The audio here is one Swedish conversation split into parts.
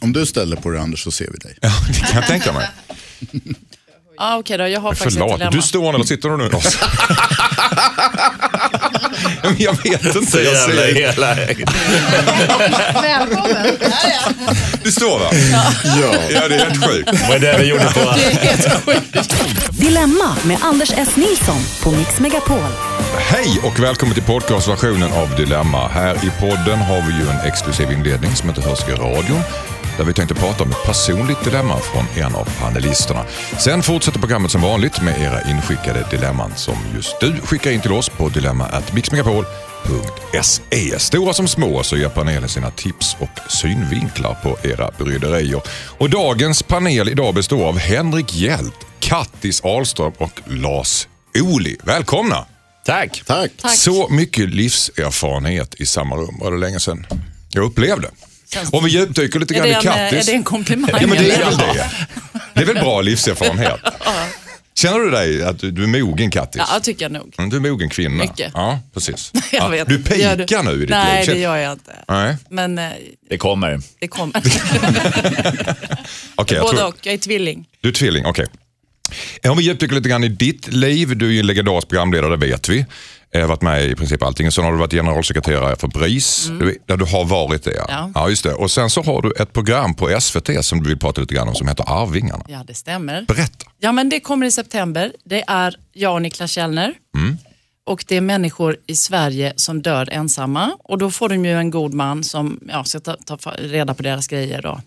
Om du ställer på dig Anders så ser vi dig. Ja, det kan jag tänka mig. ah, okej då, jag har faktiskt ett dilemma. Förlåt, du står eller sitter du nu Lars? Men jag vet inte. Jag ser. hela... Välkommen. Där är jag. Du står va? Ja. Ja, det är helt sjukt. Vad är det vi gjorde på... Dilemma med Anders S. Nilsson på Mix Megapol. Hej och välkommen till podcastversionen av Dilemma. Här i podden har vi ju en exklusiv inledning som inte hörs i radion där vi tänkte prata om ett personligt dilemma från en av panelisterna. Sen fortsätter programmet som vanligt med era inskickade dilemman som just du skickar in till oss på dilemma.mixmegapol.se. Stora som små så ger panelen sina tips och synvinklar på era bryderier. Och dagens panel idag består av Henrik Hjelt, Kattis Ahlström och Lars Oli. Välkomna! Tack. Tack. Så mycket livserfarenhet i samma rum. Var det länge sedan jag upplevde? Om vi djupdyker lite är, grann det i en, eh, är Kattis. det en komplimang? Ja, men det är eller? väl det. Det är väl bra livserfarenhet? Känner du dig att du, du är mogen Kattis? Ja, det tycker jag nog. Mm, Du är mogen kvinna. Mycket. Ja, precis. Jag Ja, vet. Du Det gör pikar nu i ditt Nej, liv. Känner- det gör jag inte. Nej, Men eh, Det kommer. det kommer. okej. jag Både tror- och. Jag är tvilling. Du är tvilling, okej. Om vi djupdyker lite grann i ditt liv. Du är ju en legendarisk programledare, det vet vi. Jag har varit med i princip allting. Sen har du varit generalsekreterare för BRIS, du- där du har varit det. Mm. Ja. ja, just det. Och sen så har du ett program på SVT som du vill prata lite grann om som heter Arvingarna. Ja, det stämmer. Berätta. Ja, men det kommer i september. Det är jag och Niklas Källner. Och det är människor i Sverige som dör ensamma. Och då får de ju en god man som ja, ska ta, ta fa- reda på deras grejer. Då.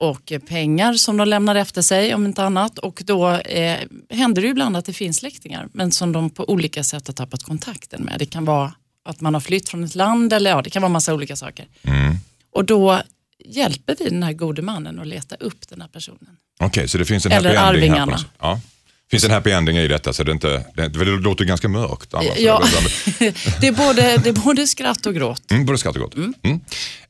Och eh, pengar som de lämnar efter sig om inte annat. Och då eh, händer det ju ibland att det finns släktingar men som de på olika sätt har tappat kontakten med. Det kan vara att man har flytt från ett land eller ja, det kan vara massa olika saker. Och då hjälper vi den här gode mannen att leta upp den här personen. Okej, så det finns en Eller happy ending här på Arvingarna. något sätt. Ja. Det finns en happy ending i detta, så det, är inte, det, det låter ju ganska mörkt annars. Ja, det är, både, det är både skratt och gråt. Mm, både skratt och gott. Mm.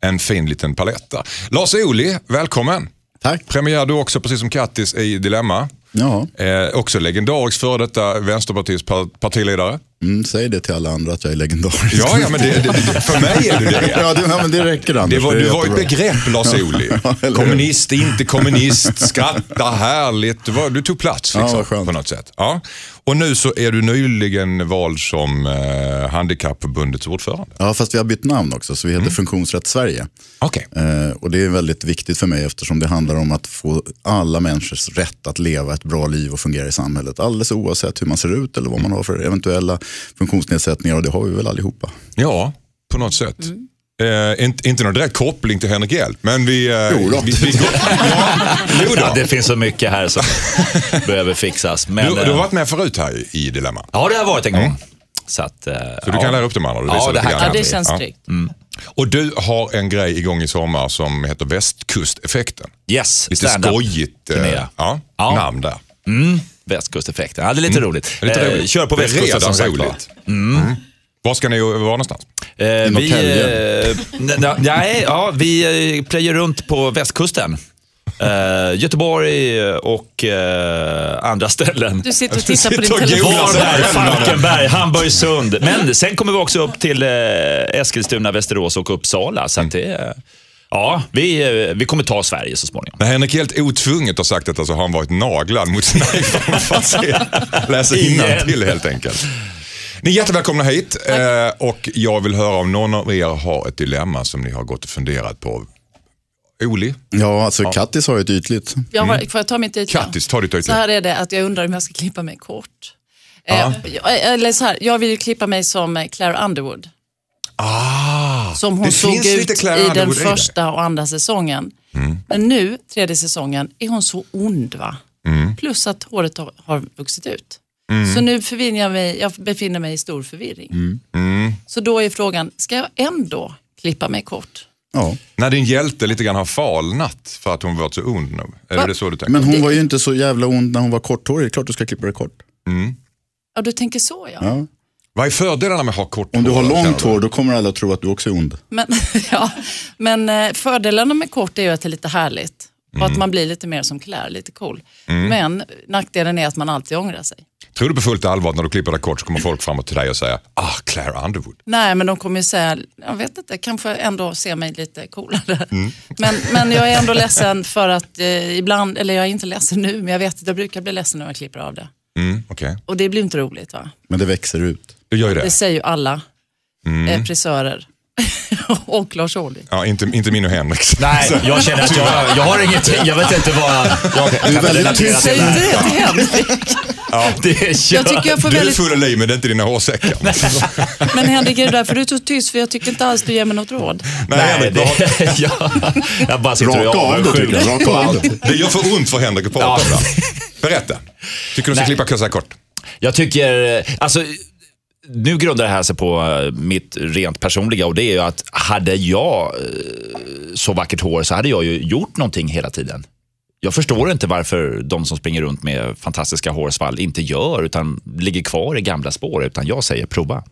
En fin liten palett där. Lars Ohly, välkommen. Tack. Premiär du också, precis som Kattis i Dilemma. Ja, Eh, också legendarisk före detta vänsterpartiets par- partiledare. mm, säg det till alla andra att jag är legendarisk. Ja, ja men det, det, för mig är du det. ja, det, ja, men det räcker Anders. Det var, är du var ett jättebra. begrepp Lars Ohly. Ja, eller hur? Kommunist, inte kommunist, skratta härligt. Du, var, du tog plats Ja, liksom, vad skönt. på något sätt. Ja. Och nu så är du nyligen vald som eh, Handikappförbundets ordförande. Ja, fast vi har bytt namn också, så vi Mm. heter Funktionsrätt Sverige. Okej. Eh, och det är väldigt viktigt för mig eftersom det handlar om att få alla människors rätt att leva ett bra liv och fungera i samhället. Alldeles oavsett hur man ser ut eller vad man har för eventuella funktionsnedsättningar och det har vi väl allihopa. Ja, på något sätt. Eh, inte, inte någon direkt koppling till Henrik Hjälp, men vi... Eh, Jo då. vi, vi går, ja, jo då. Ja, det finns så mycket här som behöver fixas. Men, Du, du eh, har varit med förut här i- i Dilemma. Ja, det har jag varit en gång. Så, att, eh, Så du ja. kan lära upp de andra. Du Ja, visar det lite här grann. Ja, kan det vi. känns Ja. tryggt. Och du har en grej igång i sommar som heter Västkusteffekten. Yes, Lite stand-up. skojigt eh, turné. ja, Ja. namn där. Västkusteffekten. Ja, det är lite roligt. Lite Eh, roligt. Kör på Mm. Det är västkusten redan som sagt va? roligt. Mm. Var ska ni vara någonstans? Eh, vi, Norrtälje. eh, n- n- nej, ja, vi eh, plöjer runt på västkusten. Eh, Göteborg och eh, andra ställen. Du sitter och tittar på Mm. sitter och din telefon. googlar. Varberg, Falkenberg, Hamburgsund. Men sen kommer vi också upp till eh, Eskilstuna, Västerås och Uppsala. Så att det, eh, ja, vi, eh, vi kommer ta Sverige så småningom. När Henrik helt otvunget har sagt detta så har han varit naglad mot sina informationsfastigheter. Läsa innantill helt enkelt. Ni är jättevälkomna hit eh, och jag vill höra om någon av er har ett dilemma som ni har gått och funderat på. Oli, Ja, alltså Kattis har ju ett ytligt. Jag har, får jag ta mitt ytliga? Mm. Kattis, ta ditt Så ögonblick. här är det, att jag undrar om jag ska klippa mig kort. Eh, jag- eller så här, jag vill ju klippa mig som eh, Claire Underwood. Ah, Som hon det såg finns lite Mm. ut Claire i den Underwood i dig. första och andra säsongen. Men nu, tredje säsongen, är hon så ond va? Mm. Plus att håret har, har vuxit ut. Så nu förvinner jag mig, jag befinner mig i stor förvirring. Mm. Så då är frågan, ska jag ändå klippa mig kort? Ja. När din hjälte lite grann har falnat för att hon varit så ond nu. Är Va? det så du tänker? Men hon var ju inte så jävla ond när hon var korthårig. Det är klart du ska klippa det kort. Ja, du tänker så ja. Ja. Vad är fördelarna med att ha kort Om du har hår, känner långt hår då kommer alla att tro att du också är ond. Men, ja. Men eh, fördelarna med kort är ju att det är lite Mm. härligt och att man blir lite mer som Claire, lite cool. Men nackdelen är att man alltid ångrar sig. Tror du på fullt allvar att när du klipper dig kort så kommer folk fram till dig och säga ah, Claire Underwood. Nej, men de kommer ju säga, jag vet inte, kanske ändå se mig lite coolare. Men, men jag är ändå ledsen för att eh, ibland, eller jag är inte ledsen nu, men jag vet att jag brukar bli ledsen när jag klipper av det. Mm, okej. Och det blir inte roligt va? Men det växer ut. Du gör ju det. Det säger ju alla eh, frisörer och Lars Ohly. Ja, inte, inte min och Henriks. Nej, jag känner att jag, jag har ingenting. Jag vet inte vad jag kan väldigt relatera tyst. till. Säg det inte här. det till Henrik. Det är Jag tycker jag får Du är väldigt... full av liv men det är inte dina hårsäckar. Nej, Men Henrik, är det därför du är så tyst? För jag tycker inte alls du ger mig något råd. Henrik, det, vad har- ja, jag bara sitter och Raka av det tycker jag. avundsjuk. Raka av det. Det gör för ont för Henrik att prata om det. Berätta. Tycker du ska Nej. klippa kossa kort? Jag tycker, alltså, nu grundar det här sig på eh, mitt rent personliga och det är ju att hade jag eh, så vackert hår så hade jag ju gjort någonting hela tiden. Jag förstår inte varför de som springer runt med fantastiska hårsvall inte gör utan ligger kvar i gamla spår. Utan jag säger prova.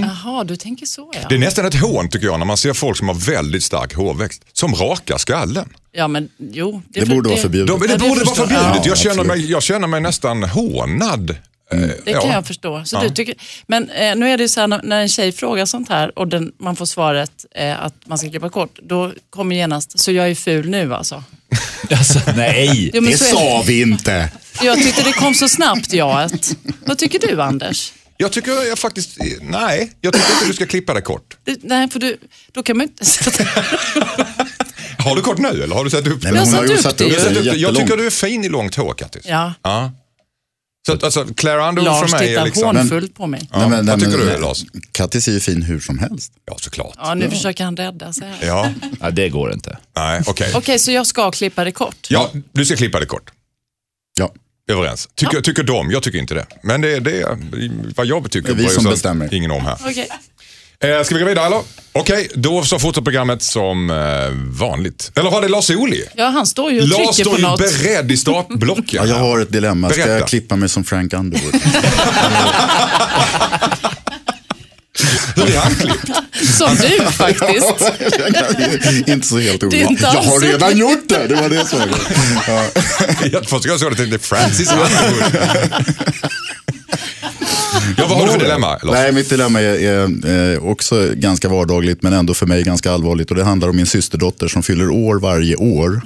Jaha, du tänker så Det ja. är nästan ett hån tycker jag när man ser folk som har väldigt stark hårväxt. Som rakar skallen. Ja, men jo. Det borde vara De, förbjudet. det det borde vara förstår jag. förbjudet. Ja, Jag känner absolut. mig, jag känner mig nästan hånad. Eh, Det kan jag förstå. Så Ja. du tycker, men eh, nu är det ju så här när, när en tjej frågar sånt här och den, man får svaret eh, att man ska klippa kort, då kommer genast, så jag är ful nu alltså. nej. Jo, men Det så är sa vi inte. Jag tyckte det kom så snabbt jaet. Vad tycker du Anders? Jag tycker jag faktiskt, nej, jag tycker inte du ska klippa det kort. Du, nej, för du, då kan man ju inte sätta... Har du kort nu eller har du satt upp Nej, men det? hon satt har ju upp satt det upp ju. Jag, sig satt upp det. jag tycker jättelångt. du är fin i långt hår Kattis. Ja, Ja. Så att, alltså, Claire Underwood Lars för mig tittar är liksom... hånfullt på mig. Ja, vad tycker du, Lars? Kattis är ju fin hur som helst. Ja, såklart. Ja, nu försöker han rädda sig. här. Okej, Ja, Ja, det går inte. nej, okej. så jag ska klippa det kort. Ja, du ska klippa det kort. Ja. Överens. Tycker, tycker de, jag tycker inte det. Men det är det, vad jag tycker. Det är vi bryr som sig bestämmer. Ingen om här. Okej. Eh, ska vi gå vidare eller? Okej, då så fortsätter programmet som eh, vanligt. Eller var det Lars Ohly? Ja, han står ju och Lars trycker står på ju något. beredd i startblocken. Ja, jag har ett dilemma. Ska Berätta. jag klippa mig som Frank Underwood? Hur är han klippt? Som du faktiskt. inte så helt Det är ovanligt. inte Jag alls- har redan gjort det. Det var det jag sa. Jag- Först jag såg det tänkte jag, Francis Underwood. ja, vad har du för dilemma Lars? Nej, mitt dilemma är, är eh, också ganska vardagligt men ändå för mig ganska allvarligt. Och Det handlar om min systerdotter som fyller år varje år.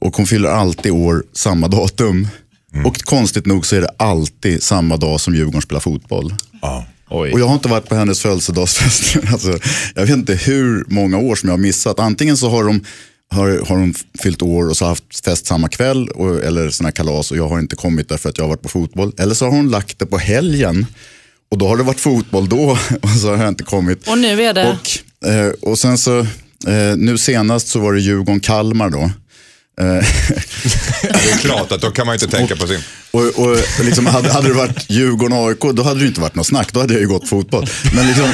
Och hon fyller alltid år samma datum. Mm. Och konstigt nog så är det alltid samma dag som Djurgården spelar fotboll. Ja. Oj. Och jag har inte varit på hennes födelsedagsfest. Alltså, jag vet inte hur många år som jag har missat. Antingen så har de har, har hon fyllt år och så har haft fest samma kväll och, eller såna här kalas och jag har inte kommit därför att jag har varit på fotboll. Eller så har hon lagt det på helgen och då har det varit fotboll då och så har jag inte kommit. Och nu är det... Och, eh, och sen så, eh, nu senast så var det Djurgården-Kalmar då. Det är klart att då kan man ju inte tänka på sin... Och, och liksom, hade, hade det varit Djurgården-AIK, då hade det inte varit något snack. Då hade jag ju gått fotboll. Men, liksom,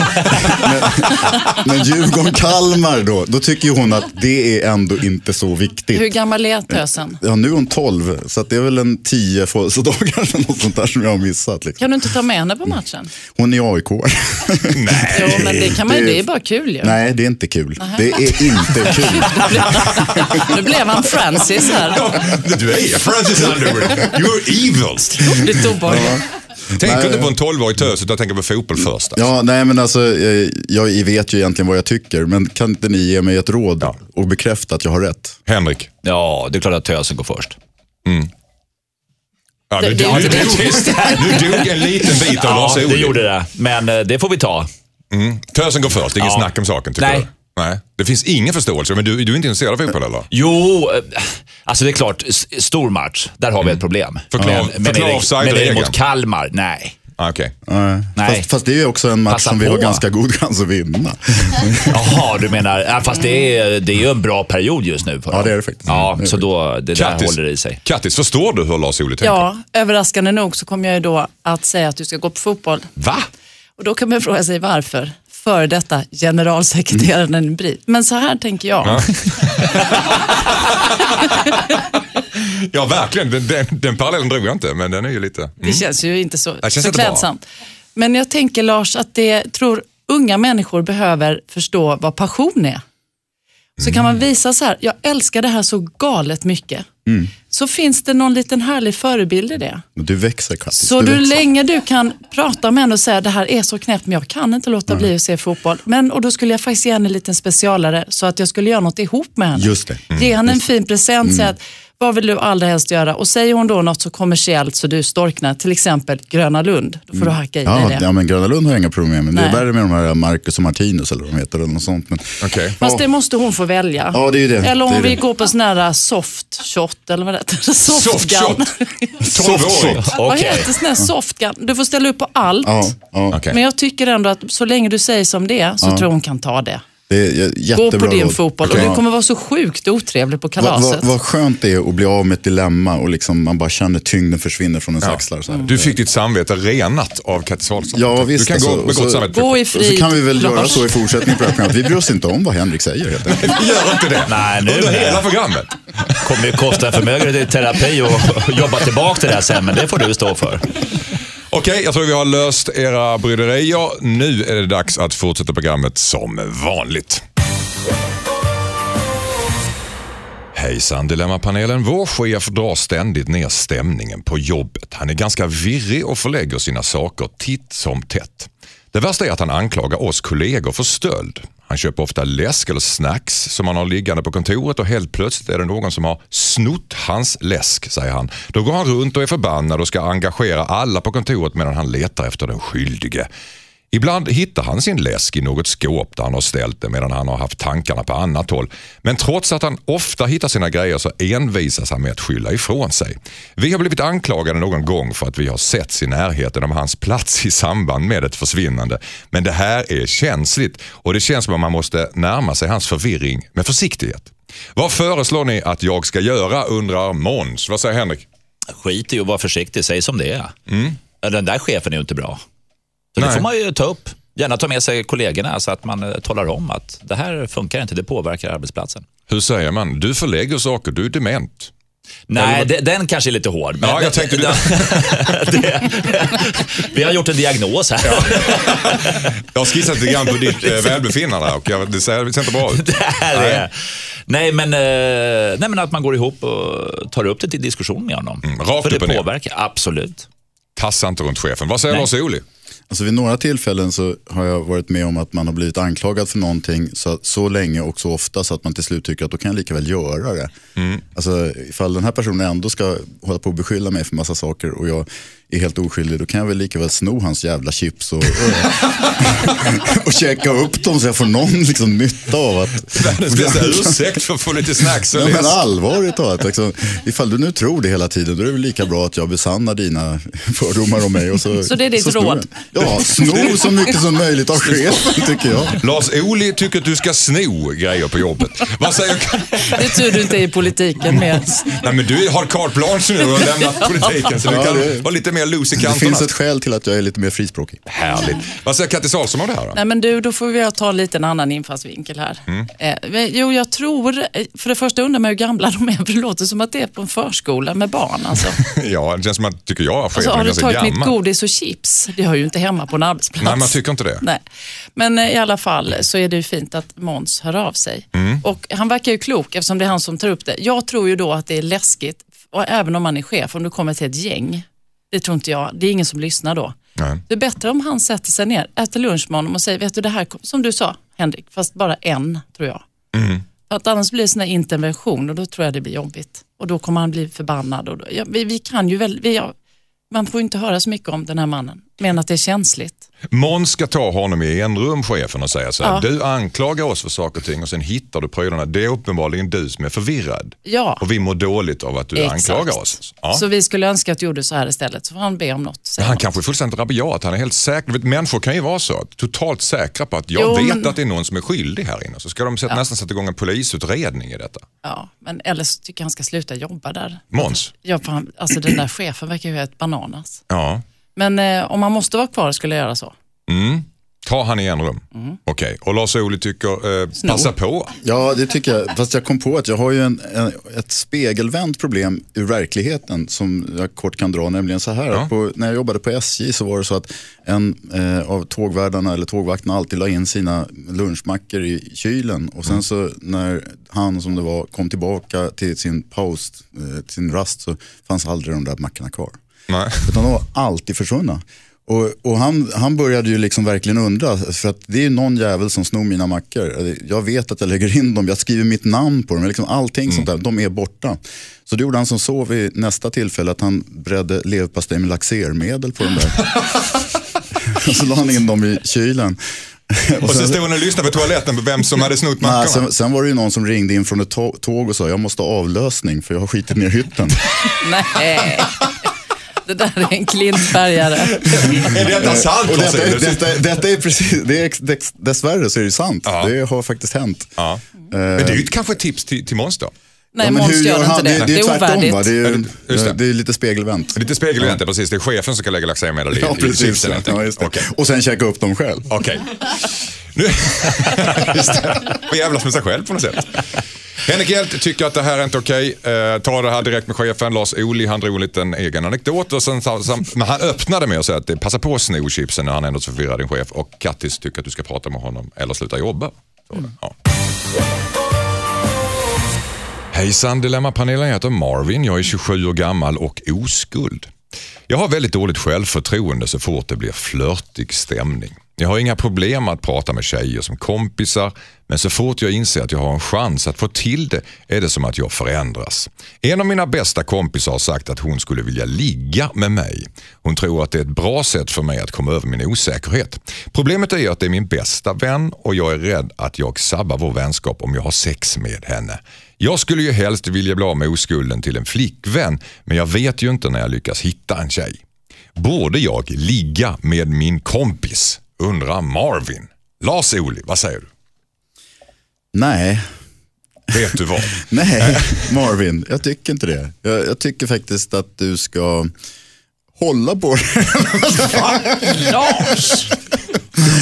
men, men Djurgården-Kalmar då, då tycker ju hon att det är ändå inte så Hur viktigt. gammal är tösen? Ja, nu är hon 12, så att det är väl en 10 födelsedagar eller något sånt där som jag har missat. Liksom. Kan du inte ta med henne på matchen? Hon är aik Jo, men det kan man ju. det- Det är bara kul ju. Nej, det är inte kul. Det är inte kul. Nu blev han Francis här. Du är Francis Underwood. You're evil. Otroligt obehagligt. Tänk inte på en 12-årig tös utan tänk på fotboll först. alltså. Ja, nej men alltså, eh, jag vet ju egentligen vad jag tycker, men kan inte ni ge mig ett råd och bekräfta att jag har rätt? Henrik. Ja, det är klart att tösen går först. Ja, nu, Det- det- dog- nu, det- dog- nu dog en liten bit av Ja, Lars det Ohly. gjorde det. Men eh, det får vi ta. Tösen går först, det är inget Ja. snack om saken tycker Nej. du? Nej. Det finns ingen förståelse, men du, du är inte intresserad av fotboll eller? Jo, eh, alltså det är klart, s- stor match, där har vi Mm. ett problem. Förklara- men men, förklara är, det, men är det offside-regeln. mot Kalmar? Nej. Ah, Okej. Nej. Fast, fast det är ju också en match Passa som vi på. har ganska god chans att vinna. Jaha, du menar, ja, fast det är, det är ju en bra period just nu. För Ja, dem. det är det faktiskt. Ja, Det är så då, det där håller i sig. Kattis, förstår du hur Lars Ohly tänker? Ja, överraskande nog så kommer jag ju då att säga att du ska gå på fotboll. Va? Och då kan man fråga sig varför. För detta generalsekreteraren mm. Britt. Men så här tänker jag. Mm. Ja, verkligen. Den, den, den parallellen drog jag inte, men den är ju lite... Mm. Det känns ju inte så, Det känns så inte bra. klädsamt. Men jag tänker Lars att det tror unga människor behöver förstå vad Mm. Mm. passion är. Så kan man visa så här, jag älskar det här så galet mycket. så finns det någon liten härlig förebild i det. Du växer Kattis. Så du, växer. länge du kan prata med henne och säga det här är så knäppt men jag kan inte låta bli att se fotboll. Men, och då skulle jag faktiskt ge henne en liten specialare så att jag skulle göra något ihop med henne. Just det. Mm. Ge henne en fin present, säga att vad vill du allra helst göra? Och säger hon då något så kommersiellt så du storknar, till exempel Gröna Lund, då får du hacka i dig Mm. Ja, det. ja, men Gröna Lund har jag inga problem med. Det är Nej. värre med de här Marcus och Martinus eller vad de heter. Eller något sånt. Men... Okej. Fast det måste hon få välja. Ja, det är ju det. Eller om Det är vi det. går på sån här soft shot, eller vad det heter. Softgun. Soft Tolvårigt. Vad Okej. heter sån här softgun? Du får ställa upp på allt. Ja, ja. Okej. Men jag tycker ändå att så länge du säger som det är så tror jag hon kan ta det. Det är jä- Gå jättebra på din råd. fotboll Ja. och du kommer vara så sjukt otrevlig på Vad kalaset. va, vad skönt det är att bli av med ett dilemma och liksom man bara känner tyngden försvinner från ens axlar. Så här. Mm. Du fick ditt samvete renat av Kattis Wahlström. Ja, visst, du kan alltså, gå med och så- gott samvete. Gå i Och så frid. kan vi väl göra Lars. så i fortsättningen på det här programmet. Vi bryr oss inte om vad Henrik säger helt enkelt. Gör inte det. Nej, nu Under nej. hela programmet. kommer ju kosta en förmögenhet i terapi och, och jobba tillbaka det där sen, men det får du stå för. Okej, jag tror vi har löst era bryderier. Nu är det dags att fortsätta programmet som vanligt. Hejsan Dilemmapanelen. Vår chef drar ständigt ner stämningen på jobbet. Han är ganska virrig och förlägger sina saker titt som tätt. Det värsta är att han anklagar oss kollegor för stöld. Han köper ofta läsk eller snacks som han har liggande på kontoret och helt plötsligt är det någon som har snott hans läsk, säger han. Då går han runt och är förbannad och ska engagera alla på kontoret medan han letar efter den skyldige. Ibland hittar han sin läsk i något skåp där han har ställt det medan han har haft tankarna på annat håll. Men trots att han ofta hittar sina grejer så envisas han med att skylla ifrån sig. Vi har blivit anklagade någon gång för att vi har setts i närheten av hans plats i samband med ett försvinnande. Men det här är känsligt och det känns som att man måste närma sig hans förvirring med försiktighet. Vad föreslår ni att jag ska göra undrar Måns. Vad säger Henrik? Skit i att vara försiktig, säg som det är. Mm. Ja, Den där chefen är ju inte bra. Så det Nej. får man ju ta upp. Gärna ta med sig kollegorna så att man eh, talar om att det här funkar inte, det påverkar arbetsplatsen. Hur säger man? Du förlägger saker, du är dement. Nej, de- den kanske är lite hård. men- Ja, jag tänkte du... Vi har gjort en diagnos här. Jag har skissat lite grann på ditt eh, välbefinnande och jag, det ser, det ser inte bra ut. Det här är... Nej, men, eh, nej, men att man går ihop och tar upp det till diskussion med honom. Mm, rakt För det upp och ner. påverkar, absolut. Tassa inte runt chefen. Vad säger Nej. Lars Ohly? Alltså vid några tillfällen så har jag varit med om att man har blivit anklagad för någonting så, så länge och så ofta så att man till slut tycker att då kan jag lika väl göra det. Alltså ifall den här personen ändå ska hålla på och beskylla mig för massa saker och jag är helt oskyldig då kan jag väl lika väl sno hans jävla chips och, och käka upp dem så jag får någon liksom nytta av att... Världens bästa ursäkt för att få lite snacks Ja, och men läsk. allvarligt talat, liksom, ifall du nu tror det hela tiden, då är det väl lika bra att jag besannar dina fördomar om mig. Och så, Så det är ditt snor råd? jag. Ja, sno så mycket som möjligt av chefen tycker jag. Lars Ohly tycker att du ska sno grejer på jobbet. Vad säger... Det är tur du inte är i politiken med. Mm. Nej men du har carte blanche nu och har lämnat politiken så du Ja, det- kan vara lite mer loose i Det kanterna. finns ett skäl till att jag är lite mer frispråkig. Härligt. Vad säger Kattis Ahlström om det här då? Nej men du, då får vi ta en liten annan infallsvinkel här. Mm. Eh, men jo, jag tror, eh, för det första undrar man hur gamla de är, för det låter som att det är på en förskola med barn. Alltså. Ja, det känns som att, tycker jag, Alltså, chefen har är du ganska tagit mitt gammal. godis och chips? Det hör ju inte hemma på en arbetsplats. Nej, man tycker inte det. Nej. Men eh, i alla fall så är det ju fint att Måns hör av sig. Och han verkar ju klok eftersom det är han som tar upp det. Jag tror ju då att det är läskigt, och även om man är chef, om du kommer till ett gäng. Det tror inte jag, det är ingen som lyssnar då. Nej. Det är bättre om han sätter sig ner, äter lunch med honom och säger, vet du det här, kom-" som du sa Henrik, fast bara en tror jag. För att annars blir det sån här intervention och då tror jag det blir jobbigt. Och då kommer han bli förbannad. Och då, ja, vi, vi kan ju väl, vi, ja, man får ju inte höra så mycket om den här mannen, men att det är känsligt. Måns ska ta honom i en rum, chefen, och säga så här. Ja. Du anklagar oss för saker och ting och sen hittar du prylarna. Det är uppenbarligen du som är förvirrad. Ja. Och vi mår dåligt av att du Exakt. anklagar oss. Ja. Så vi skulle önska att du gjorde så här istället, så får han be om något. säger han han. kanske är fullständigt rabiat, han är helt säker. Du Vet, människor kan ju vara så, totalt säkra på att jag Jo, vet men- att det är någon som är skyldig här inne. Så ska de sätta, nästan sätta igång en polisutredning i detta. Ja, men eller så tycker jag han ska sluta jobba där. Måns? Ja, för han, alltså den där chefen verkar ju vara ett bananas. Ja. Men eh, om han måste vara kvar skulle jag göra så. Ta han i en rum. Mm. Okej, och Lars Ohly tycker eh, passa på. Ja, det tycker jag. Fast jag kom på att jag har ju en, en, ett spegelvänt problem ur verkligheten som jag kort kan dra. Nämligen så här, Ja. på, när jag jobbade på SJ så var det så att en eh, av tågvärdarna eller tågvakterna alltid la in sina lunchmackor i kylen. Och sen så när han som det var kom tillbaka till sin paus, eh, till sin rast så fanns aldrig de där mackorna kvar. Nej. Utan de var alltid försvunna. Och, och han, han började ju liksom verkligen undra, för att det är ju någon jävel som snor mina mackor. Jag vet att jag lägger in dem, jag skriver mitt namn på dem, Jag liksom allting Mm. sånt där, de är borta. Så det gjorde han som så vid nästa tillfälle, att han bredde leverpastej med laxermedel på dem där. och så la han in dem i kylen. Och sen stod han och lyssnade på toaletten på vem som hade snott Nej, mackorna. sen, sen var det ju någon som ringde in från ett tå- tåg och sa, jag måste ha avlösning för jag har skitit ner hytten. Nej, det där är en klintbergare. Är detta sant? Och Lars detta, är- Ohly? detta, detta är precis, det är, ex- dex- dessvärre så är det sant. Ja. Det har faktiskt hänt. Eh, Ja. Men det är ju ett- kanske ett tips till, till Måns då. Nej, Ja, men Måns hur gör gör inte han? det. Det, det är tvärtom va? Det är, ju- Just det. det är lite spegelvänt. Lite spegelvänt, ja. precis. Det är chefen som ska lägga laxermedel i, Ja, i precis. chipsen. helt Ja, enkelt. just det. Okej. Och sen käka upp dem själv. Okej. Nu... Just det. Får jävlas med sig själv på något sätt. Henrik Hjelt tycker att det här är inte okej. Eh, ta det här direkt med chefen. Lars Ohly, han drog en liten egen anekdot. Och sen, sam, sam, men han öppnade med att säga att det- passa på att sno chipsen när han ändå så förvirrar din chef. Och Kattis tycker att du ska prata med honom eller sluta jobba. Så, ja. Hejsan Dilemmapanelen, jag heter Marvin, jag är 27 år gammal och oskuld. Jag har väldigt dåligt självförtroende så fort det blir flörtig stämning. Jag har inga problem att prata med tjejer som kompisar, men så fort jag inser att jag har en chans att få till det är det som att jag förändras. En av mina bästa kompisar har sagt att hon skulle vilja ligga med mig. Hon tror att det är ett bra sätt för mig att komma över min osäkerhet. Problemet är att det är min bästa vän och jag är rädd att jag sabbar vår vänskap om jag har sex med henne. Jag skulle ju helst vilja bli av med oskulden till en flickvän, men jag vet ju inte när jag lyckas hitta en tjej. Borde jag ligga med min kompis? Undrar Marvin. Lars Ohly, vad säger du? Nej, Vet du vad? nej Marvin. Jag tycker inte det. Jag, jag tycker faktiskt att du ska hålla på det. Lars!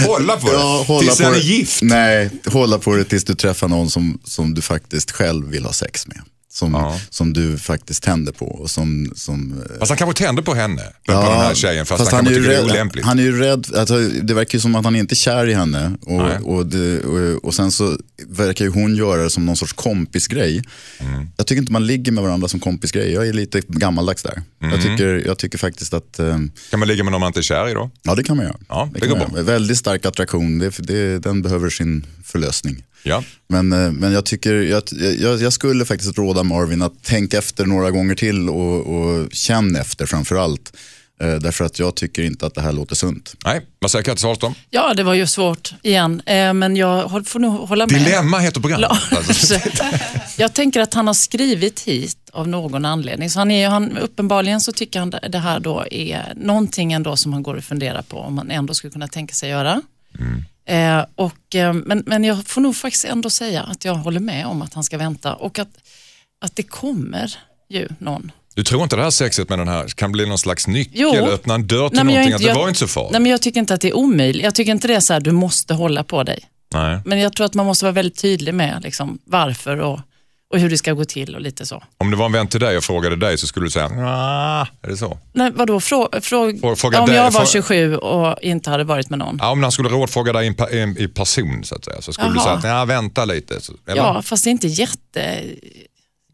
Hålla på det. Ja, hålla Tills på han är det. gift. Nej, hålla på det tills du träffar någon som, som du faktiskt själv vill ha sex med. Som, som du faktiskt tänder på och som, som Fast han kanske tänder på henne, på den här tjejen, fast, han, är kanske ju tycker det är rädd- olämpligt. Han är ju rädd, alltså, det verkar ju som att han inte är kär i henne. Nej. Och, och, det, och, och sen så verkar ju hon göra det som någon sorts kompisgrej. Mm. Jag tycker inte man ligger med varandra som kompisgrej, jag är lite gammaldags där. Jag, Mm. tycker, jag tycker faktiskt att, eh, Kan man ligga med någon man inte är kär i då? ja det kan man göra. Ja, det kan går man bra. göra. Väldigt stark attraktion, det, det, den behöver sin förlösning. Ja. Men, eh, men jag, tycker, jag, jag, jag skulle faktiskt råda Marvin att tänka efter några gånger till och, och känn efter framför allt. Eh, Därför att jag tycker inte att det här låter sunt. Nej, vad säger Kattis Ahlström? Ja, det var ju svårt igen, eh, men jag håll- får nog hålla med. Dilemma heter programmet. Alltså, Lars. Jag tänker att han har skrivit hit av någon anledning. Så han är, ju- han, uppenbarligen så tycker han det det här då är någonting ändå som han går och funderar på om han ändå skulle kunna tänka sig göra. Mm. Eh, och, eh, men, men jag får nog faktiskt ändå säga att jag håller med om att han ska vänta och att, att det kommer ju någon. Du tror inte det här sexet med den här kan bli någon slags nyckel, Jo. öppna en dörr till Nej, men jag är någonting, inte- att det jag- var inte så farligt? Nej, men jag tycker inte att det är omöjligt. Jag tycker inte det är så här, du måste hålla på dig. Nej. Men jag tror att man måste vara väldigt tydlig med liksom, varför och, och hur det ska gå till och lite så. Om det var en vän till dig och frågade dig så skulle du säga, "Nja, är det så? Nej, vadå, frå, frå, Frå- fråga om dig- jag var frå- 27 och inte hade varit med någon? Ja, om han skulle rådfråga dig i en pa- i en- i person så att säga, så skulle du säga, Jaha. "Nja, vänta lite. Så, eller? Ja, fast det är inte jätte...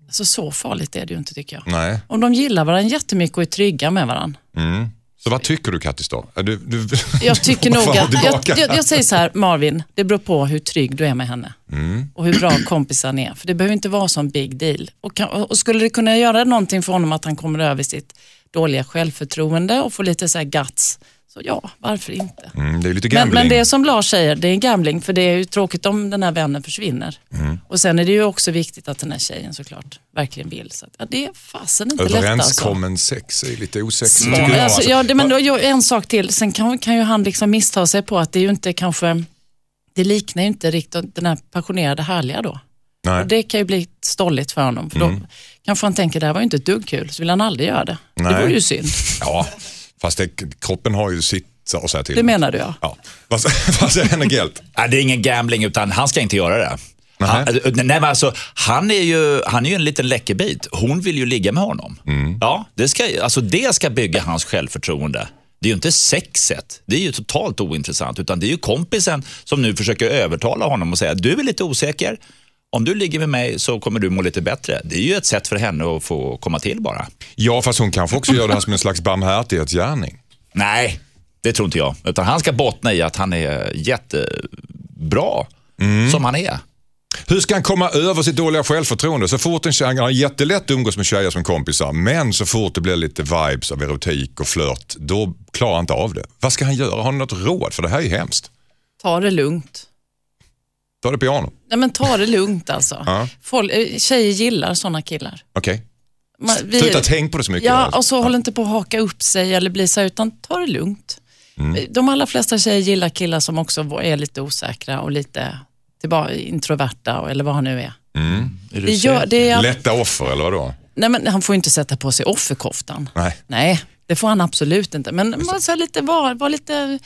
Alltså, så farligt är det ju inte tycker jag. Nej. Om de gillar varandra jättemycket och är trygga med varandra. Så vad tycker du Kattis då? Är Du, du, Jag tycker du nog hoppar fram och att... Jag, tillbaka. jag, jag säger så här, Marvin, det beror på hur trygg du är med henne. Mm. Och hur bra kompisen är. För det behöver inte vara sån big deal. Och, kan, och skulle det kunna göra någonting för honom att han kommer över sitt dåliga självförtroende och får lite så här guts, så ja, varför inte? Mm, det är lite Men, gambling. men det är som Lars säger, det är en gambling för det är ju tråkigt om den här vännen försvinner. Mm. Och sen är det ju också viktigt att den här tjejen såklart verkligen vill. Så att, ja, det är fasen inte lätt alltså. Överenskommen sex är lite osexigt Ja, tycker jag. alltså, ja, det, men då, jag- en sak till, sen kan, kan ju han liksom missta sig på att det är ju inte kanske, det liknar ju inte riktigt den här passionerade härliga då. Nej. Mm. Och det kan ju bli stolligt för honom. För då kanske han tänker, det här var ju inte ett dugg kul, så vill han aldrig göra det. Nej. Det vore ju synd. Ja, fast det, kroppen har ju sitt Så- och säga till. Det menar du ja. Ja. Vad sä- vad säger Henrik Hjelt? Ja, det är ingen gambling, utan han ska inte göra det. Han, Nej. nej, men alltså, han, är ju, han är ju en liten läckerbit. Hon vill ju ligga med honom. Ja, det, ska, alltså, det ska bygga hans självförtroende. Det är ju inte sexet, det är ju totalt ointressant. Utan det är ju kompisen som nu försöker övertala honom och säga du är lite osäker. Om du ligger med mig så kommer du må lite bättre. Det är ju ett sätt för henne att få komma till bara. Ja, fast hon kanske också gör det här som en slags barmhärtighetsgärning. Nej, det tror inte jag. Utan han ska bottna i att han är jättebra som han är. Hur ska han komma över sitt dåliga självförtroende? Så fort en tjej, han har jättelätt att umgås med tjejer som kompisar, men så fort det blir lite vibes av erotik och flört, då klarar han inte av det. Vad ska han göra? Har ni något råd? För det här är ju hemskt. Ta det lugnt. Ta det piano. Nej men ta det lugnt alltså. Ja. Folk, eh, tjejer gillar sådana killar. Okej. Man- vi- Sluta tänk på det så mycket. Ja, Alltså. och så håll inte på att haka upp sig eller bli så här, utan ta det lugnt. Mm. Eh, De allra flesta tjejer gillar killar som också är lite osäkra och lite tillbaka, introverta och- eller vad han nu är. Är du Det säker? gör, det är Lätta offer eller vadå? nej, men han får ju inte sätta på sig offerkoftan. Nej. Nej, det får han absolut inte. Men man ska lite var, var lite,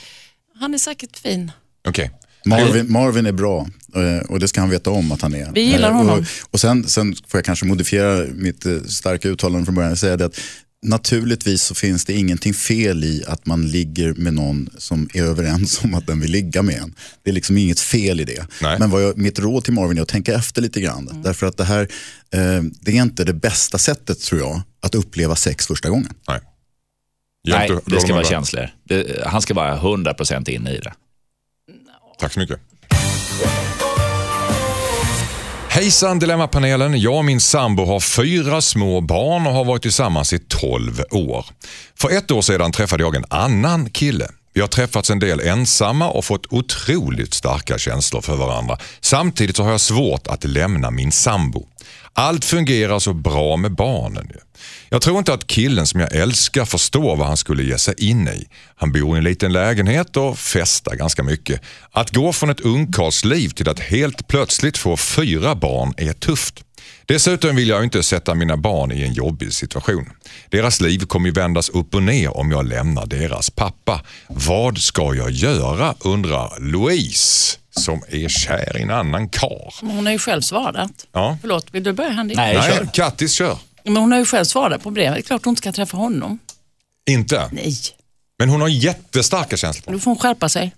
han är säkert fin. Okej. Marvin, Marvin är bra eh, och det ska han veta om att han är. Vi gillar Eh, honom. Och, och sen, sen får jag kanske modifiera mitt eh, starka uttalande från början och säga det att naturligtvis så finns det ingenting fel i att man ligger med någon som är överens om att den vill ligga med en. Det är liksom inget fel i det. Nej. Men vad jag, mitt råd till Marvin är att tänka efter lite grann. Mm. Därför att det här, eh, det är inte det bästa sättet tror jag att uppleva sex första gången. Nej. Nej, Hjälp, du- det ska du- vara känslor. Det, han ska vara 100% inne i det. Tack så mycket. Hejsan Dilemmapanelen. Jag och min sambo har fyra små barn och har varit tillsammans i 12 år. För ett år sedan träffade jag en annan kille. Vi har träffats en del ensamma och fått otroligt starka känslor för varandra. Samtidigt så har jag svårt att lämna min sambo. Allt fungerar så bra med barnen. ju. Jag tror inte att killen som jag älskar förstår vad han skulle ge sig in i. Han bor i en liten lägenhet och festar ganska mycket. Att gå från ett ungkarlsliv till att helt plötsligt få fyra barn är tufft. Dessutom vill jag inte sätta mina barn i en jobbig situation. Deras liv kommer ju vändas upp och ner om jag lämnar deras pappa. Vad ska jag göra undrar Louise som är kär i en annan kar. Men Hon har ju själv svarat. Ja. Förlåt, vill du börja Henrik? Nej, Nej, kör. Kattis kör. Men hon har ju själv svarat på brevet. Det är klart hon inte ska träffa honom. Inte. Nej, Men hon har jättestarka känslor. då får hon skärpa sig.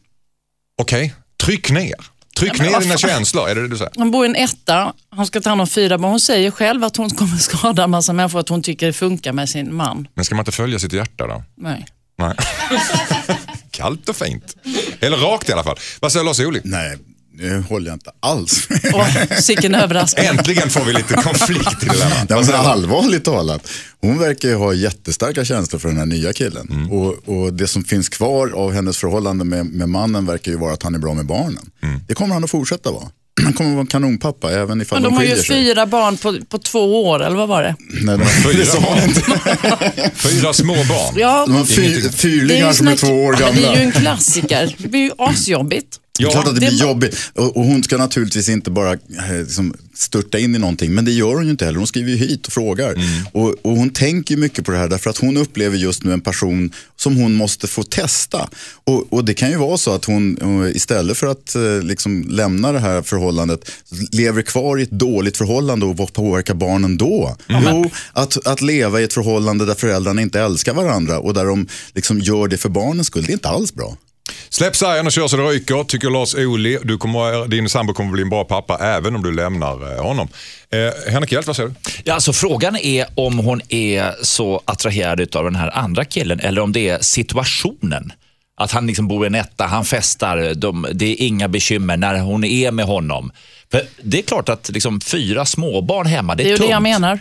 Okej, tryck ner. Tryck ner vad dina fan. känslor, är det det du säger? Han bor i en etta, han ska ta hand om fyra barn. Hon säger själv att hon kommer skada en massa människor, att hon tycker det funkar med sin man. Men ska man inte följa sitt hjärta då? Nej. Nej. Kallt och fint. Eller rakt i alla fall. Vad säger Lars Ohly? Nej, nu håller jag inte alls med. Åh, sicken överraskning. Äntligen får vi lite konflikt i dilemmat. Nej, men allvarligt talat, hon verkar ju ha jättestarka känslor för den här nya killen. Mm. Och, och det som finns kvar av hennes förhållande med, med mannen verkar ju vara att han är bra med barnen. Mm. Det kommer han att fortsätta vara. Han kommer att vara en kanonpappa även ifall Men de, de har skiljer ju sig. fyra barn på, på två år, eller vad var det? Nej, de, Fyra det sa hon barn. inte. Fyra små barn. Ja, de har fyr, Ingenting. fyrlingar som är snack- två år Ja, gamla. men det är ju en klassiker. Det blir ju asjobbigt. Det är klart att det det- blir jobbigt. Och, och hon ska naturligtvis inte bara eh, liksom, störta in i någonting, men det gör hon ju inte heller. Hon skriver ju hit och frågar. Och, och hon tänker ju mycket på det här därför att hon upplever just nu en person som hon måste få testa. Och, och det kan ju vara så att hon eh, istället för att eh, liksom, lämna det här förhållandet lever kvar i ett dåligt förhållande och vad påverkar barnen då? Jo, att, att leva i ett förhållande där föräldrarna inte älskar varandra och där de liksom, gör det för barnens skull, det är inte alls bra. Släpp sargen och kör så det ryker, tycker Lars Ohly. Du kommer, din sambo kommer bli en bra pappa även om du lämnar eh, honom. Eh, Henrik Hjelt, vad säger du? Ja, alltså, frågan är om hon är så attraherad av den här andra killen eller om det är situationen. Att han liksom bor i en etta, han festar, de, det är inga bekymmer när hon är med honom. För det är klart att liksom, fyra småbarn hemma, det är, Det är ju tungt. det jag menar.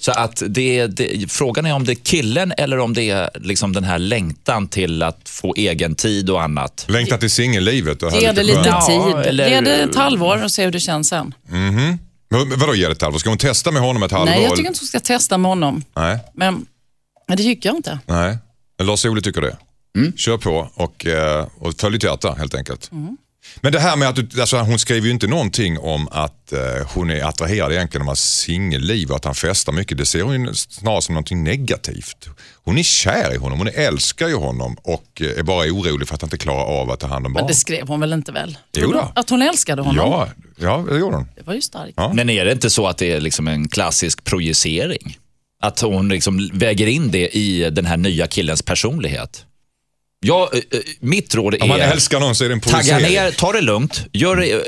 Så att det, det, frågan är om det är killen eller om det är liksom den här längtan till att få egen tid och annat. Längtar till singellivet. och här Ge det lite skönt. Ja, tid. eller- Ge det ett halvår och se hur det känns sen. Men Vadå ge det ett halvår? Ska hon testa med honom ett halvår? Nej, jag tycker inte hon ska testa med honom. Nej. Men men det tycker jag inte. Nej, men Lars Ohly tycker det. Kör på och, eh, och följ ditt hjärta helt enkelt. Men det här med att du, alltså, hon skriver ju inte någonting om att eh, hon är attraherad egentligen av hans singelliv och att han festar mycket. Det ser hon ju snarare som någonting negativt. Hon är kär i honom, hon älskar ju honom och eh, är bara orolig för att han inte klarar av att ta hand om Men barn. det skrev hon väl inte väl? Jo då. Att hon älskade honom? Ja, ja, det gjorde hon. Det var ju starkt. Ja. Men är det inte så att det är liksom en klassisk projicering? Att hon liksom väger in det i den här nya killens personlighet? Ja, eh, eh, mitt råd är... Om man älskar någon så är det en Tagga provocering. ner, ta det lugnt. Gör, det, eh,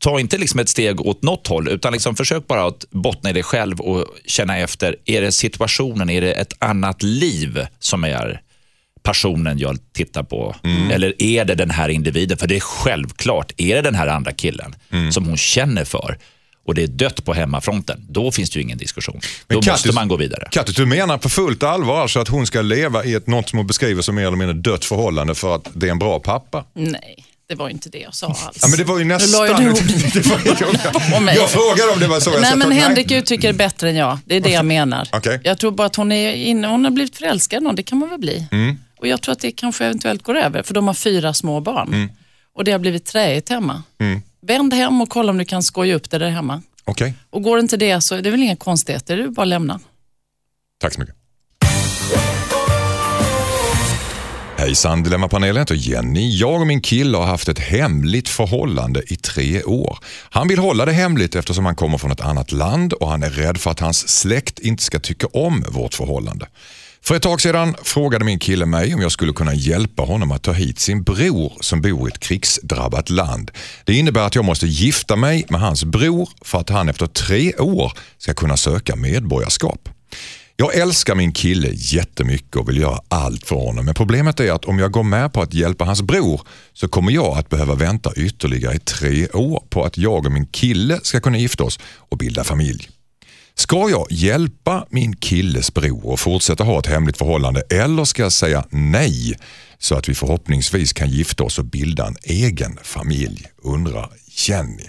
ta inte liksom ett steg åt något håll, utan liksom försök bara att bottna i dig själv och känna efter. Är det situationen, är det ett annat liv som är personen jag tittar på? Mm. Eller är det den här individen? För det är självklart, är det den här andra killen Mm. som hon känner för och det är dött på hemmafronten, då finns det ju ingen diskussion. Men Då Kattis- måste man gå vidare. Kattis, du menar på fullt allvar alltså att hon ska leva i ett, något som hon beskriver som mer eller mindre dött förhållande för att det är en bra pappa? Nej, det var ju inte det jag sa alls. Ja, men det var ju nästan... Nu la ju du orden Det var- på mig. jag, jag frågade om det var så. jag Nej, sa men att- Henrik uttrycker det bättre än jag. Det är det jag menar. Okej. Jag tror bara att hon, är inne, hon har blivit förälskad i någon, det kan man väl bli. Mm. Och jag tror att det kanske eventuellt går över, för de har fyra små barn. Mm. Och det har blivit träigt hemma. Vänd hem och kolla om du kan skoja upp det där hemma. Okej, Och går inte det så är det väl inga konstigheter, det är bara att lämna. tack så mycket. Hejsan Dilemmapanelen, jag heter Jenny. Jag och min kille har haft ett hemligt förhållande i tre år. Han vill hålla det hemligt eftersom han kommer från ett annat land och han är rädd för att hans släkt inte ska tycka om vårt förhållande. För ett tag sedan frågade min kille mig om jag skulle kunna hjälpa honom att ta hit sin bror som bor i ett krigsdrabbat land. Det innebär att jag måste gifta mig med hans bror för att han efter tre år ska kunna söka medborgarskap. Jag älskar min kille jättemycket och vill göra allt för honom. Men problemet är att om jag går med på att hjälpa hans bror så kommer jag att behöva vänta ytterligare i tre år på att jag och min kille ska kunna gifta oss och bilda familj. Ska jag hjälpa min killes bror och fortsätta ha ett hemligt förhållande eller ska jag säga nej så att vi förhoppningsvis kan gifta oss och bilda en egen familj? Undrar Jenny.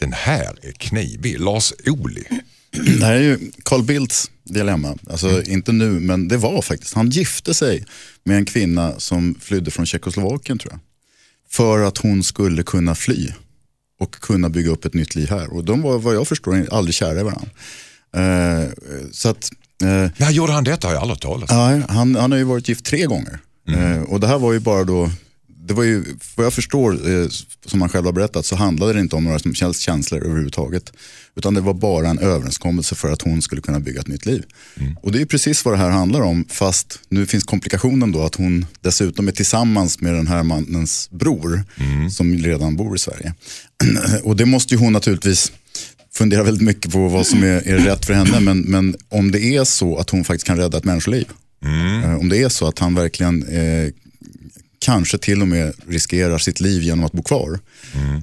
Den här är knivig. Lars Ohly. Det här är ju Carl Bildts dilemma. Alltså inte nu, men det var faktiskt. Han gifte sig med en kvinna som flydde från Tjeckoslovakien tror jag. För att hon skulle kunna fly och kunna bygga upp ett nytt liv här. Och de var vad jag förstår aldrig kära i varandra. Eh, så att, eh, När gjorde han detta har jag aldrig hört talas om. Nej, han, han har ju varit gift tre gånger. Eh, och det här var ju bara då, det var ju, vad jag förstår, eh, som han själv har berättat, så handlade det inte om några som helst känslor överhuvudtaget. Utan det var bara en överenskommelse för att hon skulle kunna bygga ett nytt liv. Och det är ju precis vad det här handlar om, fast nu finns komplikationen då att hon dessutom är tillsammans med den här mannens bror, som redan bor i Sverige. och det måste ju hon naturligtvis funderar väldigt mycket på vad som är, är rätt för henne. Men, men om det är så att hon faktiskt kan rädda ett människoliv. Eh, Om det är så att han verkligen eh, kanske till och med riskerar sitt liv genom att bo kvar.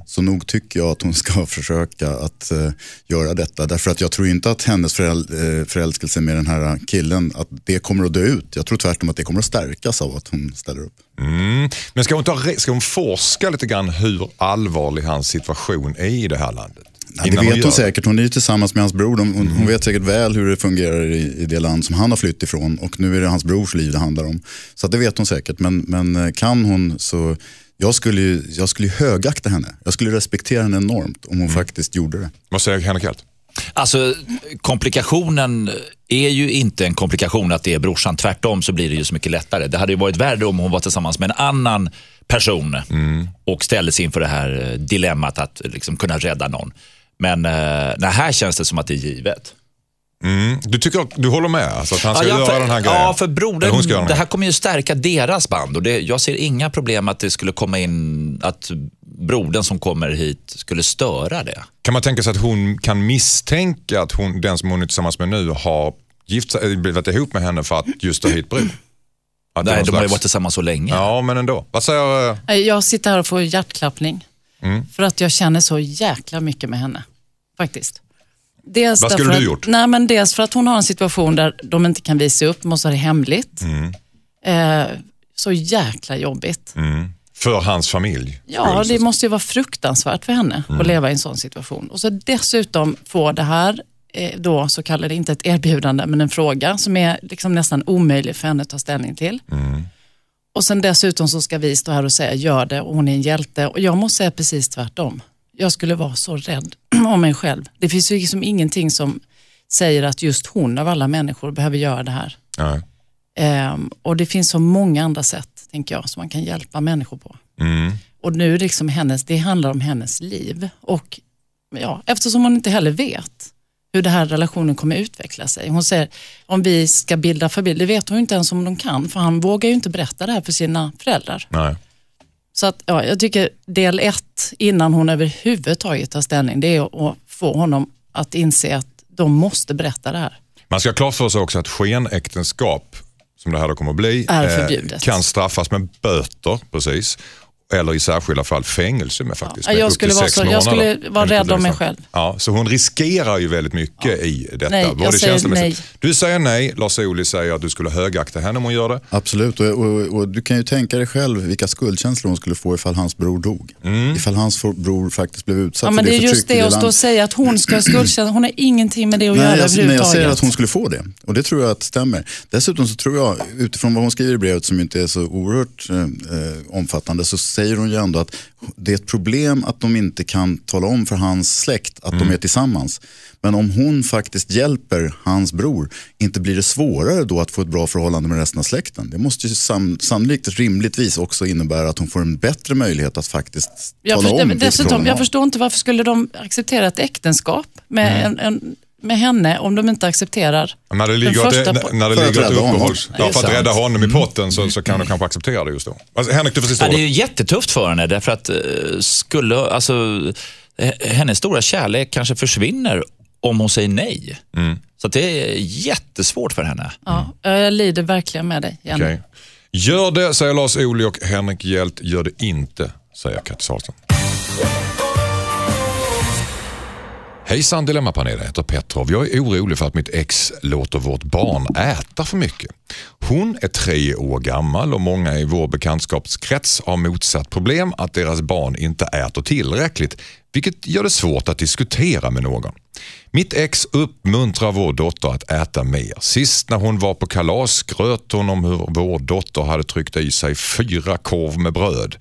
Så nog tycker jag att hon ska försöka att eh, göra detta. Därför att jag tror inte att hennes föräl, eh, förälskelse med den här killen, att det kommer att dö ut. Jag tror tvärtom att det kommer att stärkas av att hon ställer upp. Mm. Men ska hon, ta, re- ska hon forska lite grann hur allvarlig hans situation är i det här landet? Ja, det vet Innan gör Mm. hon säkert. Hon är ju tillsammans med hans bror. De, hon, hon vet säkert väl hur det fungerar i, i det land som han har flytt ifrån. Och nu är det hans brors liv det handlar om. Så att det vet hon säkert. Men, men eh, kan hon så... Jag skulle, ju, jag skulle ju högakta henne. Jag skulle respektera henne enormt om Mm. hon faktiskt gjorde det. Vad säger Henrik Hjelt? Alltså komplikationen är ju inte en komplikation att det är brorsan. Tvärtom så blir det ju så mycket lättare. Det hade ju varit värre om hon var tillsammans med en annan person Mm. och ställdes inför det här eh, dilemmat att liksom kunna rädda någon. Men eh, nej, här känns det som att det är givet. Mm. Du, tycker, du håller med? Alltså att han ska ja, göra för, den här grejen? ja, för Eller hon ska göra brodern, den det här. här kommer ju stärka deras band. Och det, jag ser inga problem att det skulle komma in att brodern som kommer hit skulle störa det. Kan man tänka sig att hon kan misstänka att hon, den som hon är tillsammans med nu har gift sig, eller blivit ihop med henne för att just ta hit bror? Att det är Nej, någon de har ju slags- varit tillsammans så länge. Ja, men ändå. Vad säger... eh, Nej, Jag sitter här och får hjärtklappning. Mm. För att jag känner så jäkla mycket med henne. Faktiskt. Dels Vad skulle därför du att, gjort? Nej, men dels för att hon har en situation där de inte kan visa upp, måste ha det hemligt. Mm. Eh, så jäkla jobbigt. För hans familj? Ja, skull, det så- måste ju vara fruktansvärt för henne att leva i en sån situation. Och så dessutom få det här, eh, då så kallar det inte ett erbjudande, men en fråga som är liksom nästan omöjlig för henne att ta ställning till. Och sen dessutom så ska vi stå här och säga gör det och hon är en hjälte. Och jag måste säga precis tvärtom. Jag skulle vara så rädd om mig själv. Det finns ju liksom ingenting som säger att just hon av alla människor behöver göra det här. Nej. Ehm, och det finns så många andra sätt, tänker jag, som man kan hjälpa människor på. Och nu är det liksom hennes, det handlar om hennes liv. Och ja, eftersom hon inte heller vet hur den här relationen kommer utveckla sig. Hon säger, om vi ska bilda familj, det vet hon ju inte ens om de kan, för han vågar ju inte berätta det här för sina föräldrar. Nej. Så att, ja, jag tycker del ett, innan hon överhuvudtaget tar ställning, det är att få honom att inse att de måste berätta det här. Man ska ha klart för sig också att skenäktenskap, som det här då kommer att bli, eh, Är förbjudet. kan straffas med böter, precis. Eller i särskilda fall fängelse med faktiskt. Ja, med jag upp skulle till vara sex så- jag skulle månader. vara Men det rädd om mig blir så. själv. Ja, så hon riskerar ju väldigt mycket i detta. Nej, jag säger känslomässigt. Du säger nej, Lars Ohly säger att du skulle högakta henne om hon gör det. Absolut, och, och, och du kan ju tänka dig själv vilka skuldkänslor hon skulle få ifall hans bror dog. Mm. Ifall hans for- bror faktiskt blev utsatt Ja, men för det är just förtryck i det, att stå land- och säga att hon ska skuldkänna, hon har ingenting med det att göra Nej, jag, nej, jag överhuvudtaget. säger att hon skulle få det och det tror jag att stämmer. Dessutom så tror jag, utifrån vad hon skriver i brevet som ju inte är så oerhört eh, eh, omfattande, så säger hon ju ändå att det är ett problem att de inte kan tala om för hans släkt att de är tillsammans. Men om hon faktiskt hjälper hans bror, inte blir det svårare då att få ett bra förhållande med resten av släkten? Det måste ju sam, sannolikt rimligtvis också innebära att hon får en bättre möjlighet att faktiskt jag tala förstår, om vilket förhållande dessutom, de jag har. förstår inte varför skulle de acceptera ett äktenskap med, Mm. en, en, med henne om de inte accepterar När det ligger, första ett- po- när det För att ligger ett rädda honom. uppehålls... Nej, Ja, det är för att sant. Mm. rädda honom i potten så, så kan du kanske acceptera det just då. Alltså, Henrik, du får sista Ja, det är ordet. ju jättetufft för henne därför att eh, skulle, alltså, eh, hennes stora kärlek kanske försvinner om hon säger nej. Mm. Så att det är jättesvårt för henne. Ja, jag lider verkligen med dig, Jenny. Okej. Gör det, säger Lars Ohly och Henrik Hjelt. Gör det inte, säger Kattis Ahlström. Hejsan Dilemmapanelen, jag heter Petrov. Jag är orolig för att mitt ex låter vårt barn äta för mycket. Hon är tre år gammal och många i vår bekantskapskrets har motsatt problem att deras barn inte äter tillräckligt, vilket gör det svårt att diskutera med någon. Mitt ex uppmuntrar vår dotter att äta mer. Sist när hon var på kalas skröt hon om hur vår dotter hade tryckt i sig fyra korv med bröd.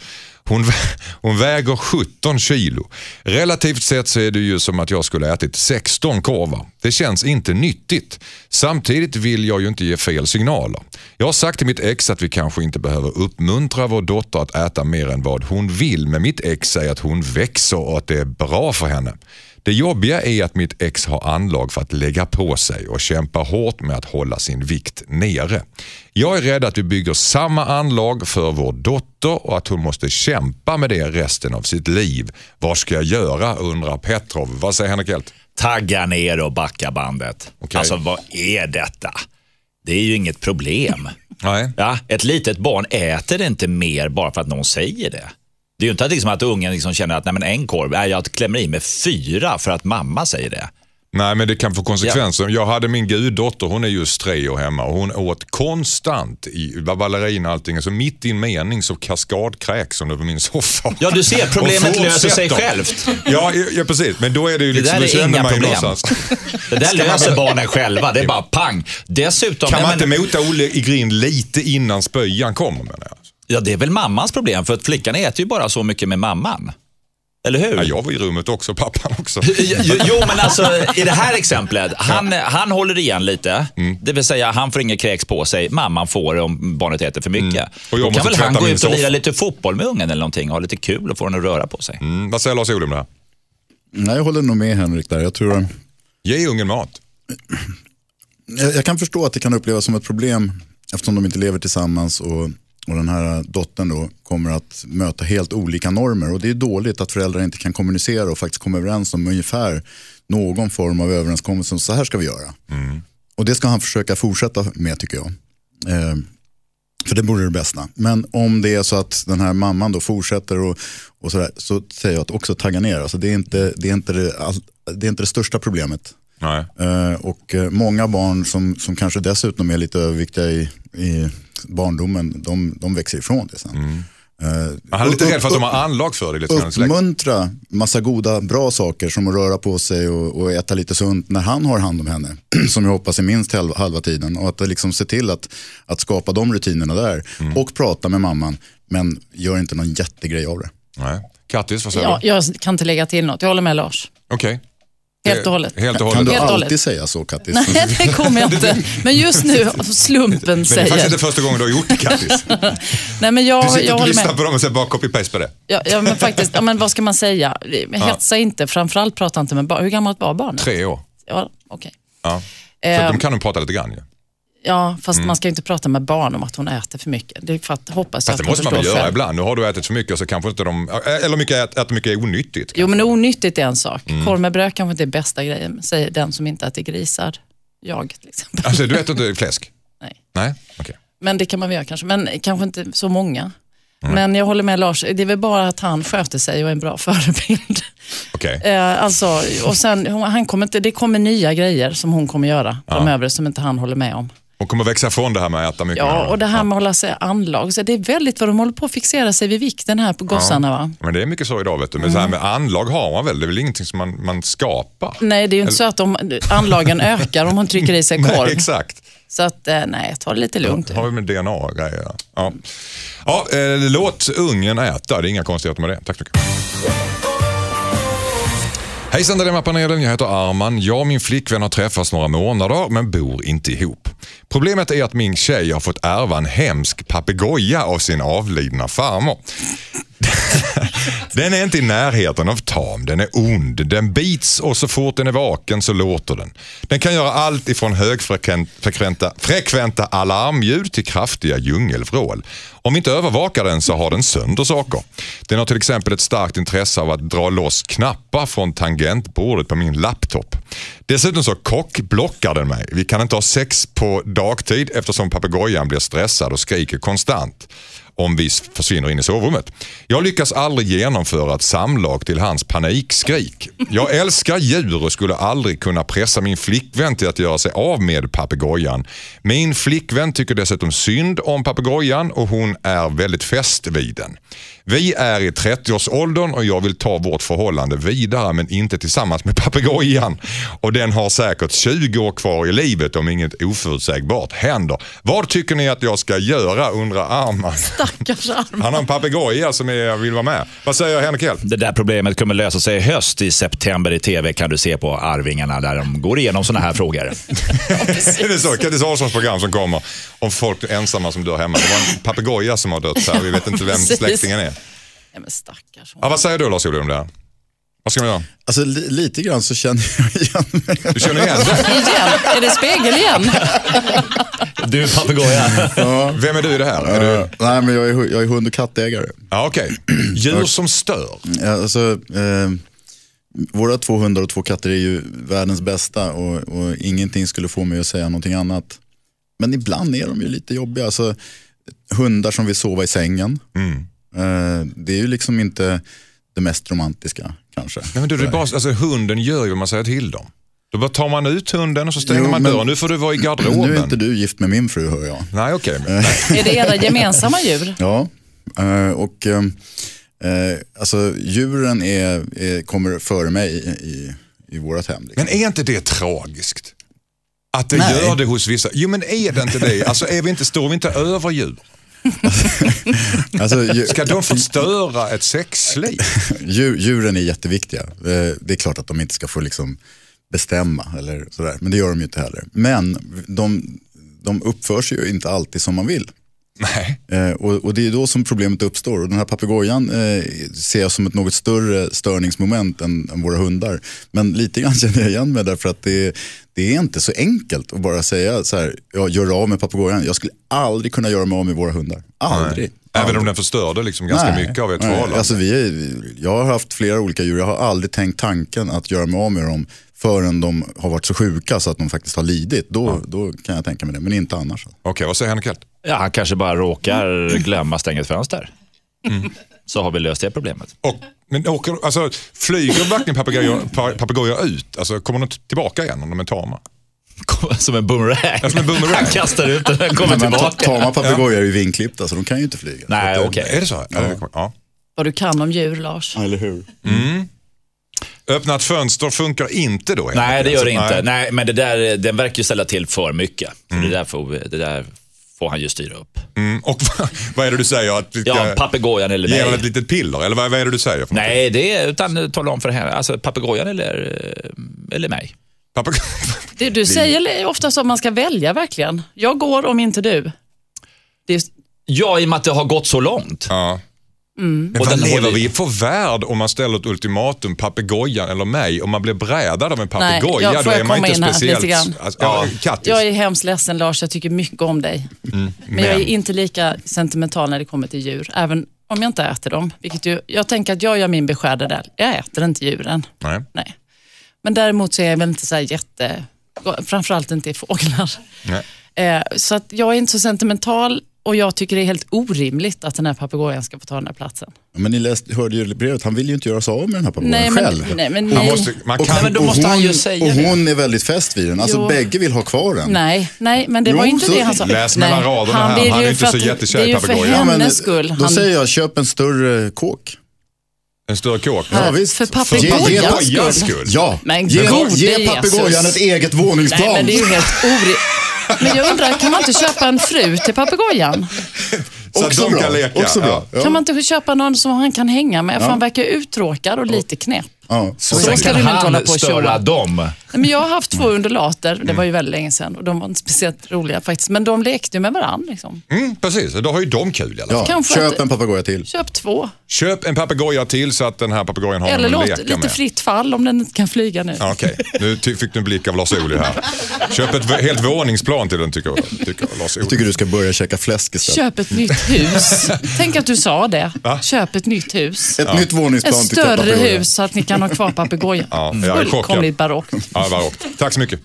Hon, vä- hon väger 17 kilo. Relativt sett så är det ju som att jag skulle ha ätit 16 korvar. Det känns inte nyttigt. Samtidigt vill jag ju inte ge fel signaler. Jag har sagt till mitt ex att vi kanske inte behöver uppmuntra vår dotter att äta mer än vad hon vill, men mitt ex säger att hon växer och att det är bra för henne. Det jobbiga är att mitt ex har anlag för att lägga på sig och kämpa hårt med att hålla sin vikt nere. Jag är rädd att vi bygger samma anlag för vår dotter och att hon måste kämpa med det resten av sitt liv. Vad ska jag göra undrar Petrov. Vad säger Henrik Hjelt? Tagga ner och backa bandet. Okej. Alltså vad är detta? Det är ju inget problem. Nej. Ja, ett litet barn äter inte mer bara för att någon säger det. Det är ju inte att, liksom att ungen liksom känner att nej, men en korv, nej, jag klämmer i mig fyra för att mamma säger det. Nej, men det kan få konsekvenser. Jag hade min guddotter, hon är just tre år hemma och hon åt konstant i var ballerina och allting. Så mitt i en mening så kaskadkräks hon över min soffa. Ja, du ser, Och problemet fortsätter. löser sig självt. Ja, ja, precis. Men då är det ju Det liksom, där då är känner alltså. inga man ju problem. någonstans. Det där löser barnen själva. Det är bara pang. Dessutom, Kan nej, man men- inte mota Olle i grind lite innan spöjan kommer menar jag? Ja, det är väl mammans problem, för att flickan äter ju bara så mycket med mamman. Eller hur? Ja, jag var i rummet också, pappan också. Jo, jo, men alltså i det här exemplet, han, han håller igen lite. Mm. Det vill säga, han får inget kräks på sig, mamman får det om barnet äter för mycket. Mm. Och jag Då måste kan väl tvätta han gå min ut och lira soffa. lite fotboll med ungen eller någonting, ha lite kul och få den att röra på sig. Mm, vad säger Lars Ohly om det här? Nej, jag håller nog med Henrik där. Jag tror... Ge ungen mat. jag, jag kan förstå att det kan upplevas som ett problem eftersom de inte lever tillsammans och, och den här dottern då kommer att möta helt olika normer. Och det är dåligt att föräldrar inte kan kommunicera och faktiskt komma överens om ungefär någon form av överenskommelse om så här ska vi göra. Och det ska han försöka fortsätta med tycker jag. Eh, för det vore det bästa. Men om det är så att den här mamman då fortsätter och, och sådär, så säger jag att också tagga ner. Alltså det, är inte, det, är inte det, all- det är inte det största problemet. Nej. Eh, Och eh, många barn som, som kanske Mm. dessutom är lite överviktiga i, i barndomen, de, de växer ifrån det sen. Eh, Han är lite upp- rädd för att de upp- har anlag för det. Lite grann i släkten. Uppmuntra massa goda, bra saker som att röra på sig och, och äta lite sunt när han har hand om henne. Som jag hoppas är minst halva, halva tiden. Och att liksom se till att, att skapa de rutinerna där. Mm. Och prata med mamman, men gör inte någon jättegrej av det. Nej. Kattis, vad säger Ja, du? jag kan inte lägga till något. Jag håller med Lars. Okej. Eh, Helt och hållet. Helt och Kan hållet. du Helt och alltid hållet. säga så Kattis? Nej, det kommer jag inte. Men just nu, av slumpen Men det är faktiskt säger. inte första gången du har gjort det Kattis. Nej, men Du jag, sitter jag och håller lyssnar med. på dem och sen bara copy-paste på det. Ja, ja, men faktiskt, ja, men vad ska man säga? Hetsa inte, framförallt prata inte med barn. Hur gammalt var barnet? Tre år. Ja, okej. Ja. Så Eh, att Mm. de kan nog prata lite grann ju. ja, fast man ska ju inte prata med barn om att hon äter för mycket. Det fatt, hoppas jag Fast att det hon måste man väl förstår göra själv. ibland. Nu har du ätit för mycket och så kanske inte de... eh, Eller mycket, ät- äter mycket är onyttigt. Jo, men onyttigt är en sak. Mm. Korv med bröd kanske inte är bästa grejen, säger den som inte äter grisar. Jag till exempel. Alltså du äter inte fläsk? Nej. Nej, okej. Men det kan man väl göra kanske, men kanske inte så många. Men jag håller med Lars, det är väl bara att han sköter sig och är en bra förebild. Okej. Eh, alltså, och sen, hon- han kommer inte, det kommer nya grejer som hon kommer göra framöver som inte han håller med om. Hon kommer växa ifrån det här med att äta mycket. Ja, och det här med att hålla sig anlag. Så det är väldigt vad de håller på att fixera sig vid vikten här på gossarna. Va? Men det är mycket så idag vet du. Men så Mm. här med anlag har man väl? Det är väl ingenting som man, man skapar? Nej, det är ju inte så att de, anlagen ökar om hon trycker i sig korv. Nej, exakt. så att, eh, nej, ta det lite lugnt. har vi med DNA-grejer. Ja. Ja, eh, låt ungen äta, det är inga konstigheter med det. Tack så mycket. Hejsan Dilemma-panelen, jag heter Arman. Jag och min flickvän har träffats några månader men bor inte ihop. Problemet är att min tjej har fått ärva en hemsk papegoja av sin avlidna farmor. Den är inte i närheten av tam, den är ond. Den bits och så fort den är vaken så låter den. Den kan göra allt ifrån högfrekventa frekventa alarmljud till kraftiga djungelvrål. Om vi inte övervakar den så har den sönder saker. Den har till exempel ett starkt intresse av att dra loss knappar från tangentbordet på min laptop. Dessutom så kockblockar den mig. Vi kan inte ha sex på dagtid eftersom papegojan blir stressad och skriker konstant om vi försvinner in i sovrummet. Jag lyckas aldrig genomföra ett samlag till hans panikskrik. Jag älskar djur och skulle aldrig kunna pressa min flickvän till att göra sig av med papegojan. Min flickvän tycker dessutom synd om papegojan och hon är väldigt fäst vid den. Vi är i 30-årsåldern och jag vill ta vårt förhållande vidare men inte tillsammans med papegojan. Och den har säkert 20 år kvar i livet om inget oförutsägbart händer. Vad tycker ni att jag ska göra undrar Arman. Stackars arm. Han har en papegoja som är, vill vara med. Vad säger Henrik Hell? Det där problemet kommer lösa sig i höst. I september i tv kan du se på Arvingarna där de går igenom sådana här frågor. Är det så? Kattis Ahlssons program som kommer om folk ensamma som dör hemma. Det var en papegoja som har dött här. Vi vet inte vem Precis. släktingen är. Nej, men stackars Ja, hon. vad säger du Lars-Ola om det här? Vad ska man göra? Alltså li, lite grann så känner jag igen mig. Du känner igen det? Igen, är det spegel igen? Du papegoja. Vem är du i det här? Är du... Eh, nej, men jag är, hu- jag är hund och kattägare. Ja, okej. Djur som stör. Ja, Alltså, eh, våra två hundar och två katter är ju världens bästa och, och ingenting skulle få mig att säga någonting annat. Men ibland är de ju lite jobbiga. Alltså, hundar som vill sova i sängen. Mm. Eh, det är ju liksom inte det mest romantiska kanske. Nej, men du, det är bara, alltså, hunden gör ju vad man säger till dem. Då bara tar man ut hunden och så stänger Jo, man men- dörren. Nu får du vara i Men garderoben. nu är inte Eh. du gift med min fru hör jag. Nej, okej. men- nej. Är det era gemensamma djur? Ja, eh, och eh, eh, alltså, djuren är, är, kommer före mig i, i, i vårt hem. Liksom. Men är inte det tragiskt? Att det Nej. gör det hos vissa. Jo, men är det inte det? Alltså, är vi inte, står vi inte över djur? Alltså, dju- Ska de förstöra ett sexliv? Djur, djuren är jätteviktiga. Eh, Det är klart att de inte ska få liksom bestämma, eller sådär. men det gör de ju inte heller. Men de, de uppför sig ju inte alltid som man vill. Nej. Eh, Och, och det är då som problemet uppstår. Och den här papegojan eh, ser jag som ett något större störningsmoment än, än våra hundar. Men lite grann känner jag igen mig därför att det, är- det är inte så enkelt att bara säga så här, jag gör av med papegojan. Jag skulle aldrig kunna göra mig av med våra hundar. Aldrig. Även om den förstörde liksom ganska Nej, mycket av ert nej. förhållande. Alltså vi är, jag har haft flera olika djur, jag har aldrig tänkt tanken att göra mig av med dem förrän de har varit så sjuka så att de faktiskt har lidit. Då, då kan jag tänka mig det, men inte annars. Okej, vad säger Henrik Hell? Ja, han kanske bara råkar glömma stänga ett fönster. Så har vi löst det problemet. Och, men åker, alltså, flyger verkligen papegojor pa- papegojor ut? Alltså, kommer de t- tillbaka igen om de är tama? Som en boomerang. som en boomerang. Han kastar ut den och kommer Men ta- tillbaka. tar man papegojor är ju vingklippta så de kan ju inte flyga. Nej, Så att det- okej. Är det så? Ja. Ja. Vad du kan om djur, Lars. Eller hur? Öppna ett fönster funkar inte då? helt Nej, det enkelt. gör det Alltså, inte. Nej, men det där, den verkar ju ställa till för mycket. Så Det, där får, det där får han ju styra upp. Mm, och vad är det du säger? Att vi ska Ja, papegojan eller ge honom ett nej. litet piller? Eller vad, vad är det du säger? för Nej, det är, utan tala om för henne. Alltså papegojan eller, eh, eller mig. något? Pappa- Det du säger ofta att man ska välja verkligen. Jag går om inte du. Det är, Ja, i och med att det har gått så långt. Ja. Mm. Men Och vad den lever håller- vi i för värld om man ställer ett ultimatum, papegojan eller mig, om man blir brädad av en papegoja jag- då får jag är man komma inte in här speciellt... lite grann? Alltså, ja, kattis. jag är hemskt ledsen Lars, jag tycker mycket om dig. men, jag är Mm, men- inte lika sentimental när det kommer till djur, även om jag inte äter dem. Vilket ju, jag tänker att jag gör min beskärda del. Jag äter inte djuren. Nej. Nej. Men däremot så är jag väl inte så här jätte... Framförallt inte i fåglar. Eh, så att jag är inte så sentimental och jag tycker det är helt orimligt att den här papegojan ska få ta den här platsen. Men ni läste, hörde ju brevet, han vill ju inte göra sig av med den här papegojan Nej, men, själv. nej, men Man nej. måste, man Och- kan, men då och måste han ju hon- säga Och det. hon är väldigt fäst vid den. Alltså Jo. bägge vill ha kvar den. Nej, nej, men det Jo, var ju inte så- det han sa. läs Nej, mellan raderna här. vill Han är ju inte för så att- jättekär i Det är ju för papegojan. Ja, men hennes skull. Då Han, säger jag, köp en större kåk. en större kåk. Ja, visst. för Ge- ge- papegojans papegojans skull. skull. Ja, Men ge, gode ge Jesus. papegojan ett eget våningsplan. Nej, men det är ju helt orimligt. Men jag undrar, kan man inte köpa en fru till papegojan? Så att Också de bra. kan leka. Också bra. Ja. Kan man inte köpa någon som han kan hänga med? För han verkar ju uttråkad och lite knäpp. Ja. Så Sen ska kan du inte hålla han på och störa tjoa. dem. Nej, Men jag har haft två undulater, det var ju väldigt länge sedan och de var inte speciellt roliga faktiskt. Men de lekte ju med varandra. Liksom. Ja. Mm, precis, då har ju de kul i alla fall. Ja, Kanske köp att- en papegoja till. Köp två. Köp en papegoja till så att den här papegojan har Eller någon att låt leka lite med. fritt fall om den inte kan flyga nu. Ja, Okej, nu ty- fick du en blick av Lars Ohly här. Köp ett v- helt våningsplan till den tycker, tycker Lars Ohly. Jag tycker du ska börja käka fläsk istället. Köp ett nytt hus. Tänk att du sa det. Köp ett nytt hus. Ett nytt Ett våningsplan till större papegojan. hus så att ni kan ha kvar papegojan. Ja, jag är chockad. Fullkomligt barockt. Ja, vad rakt. Tack så mycket.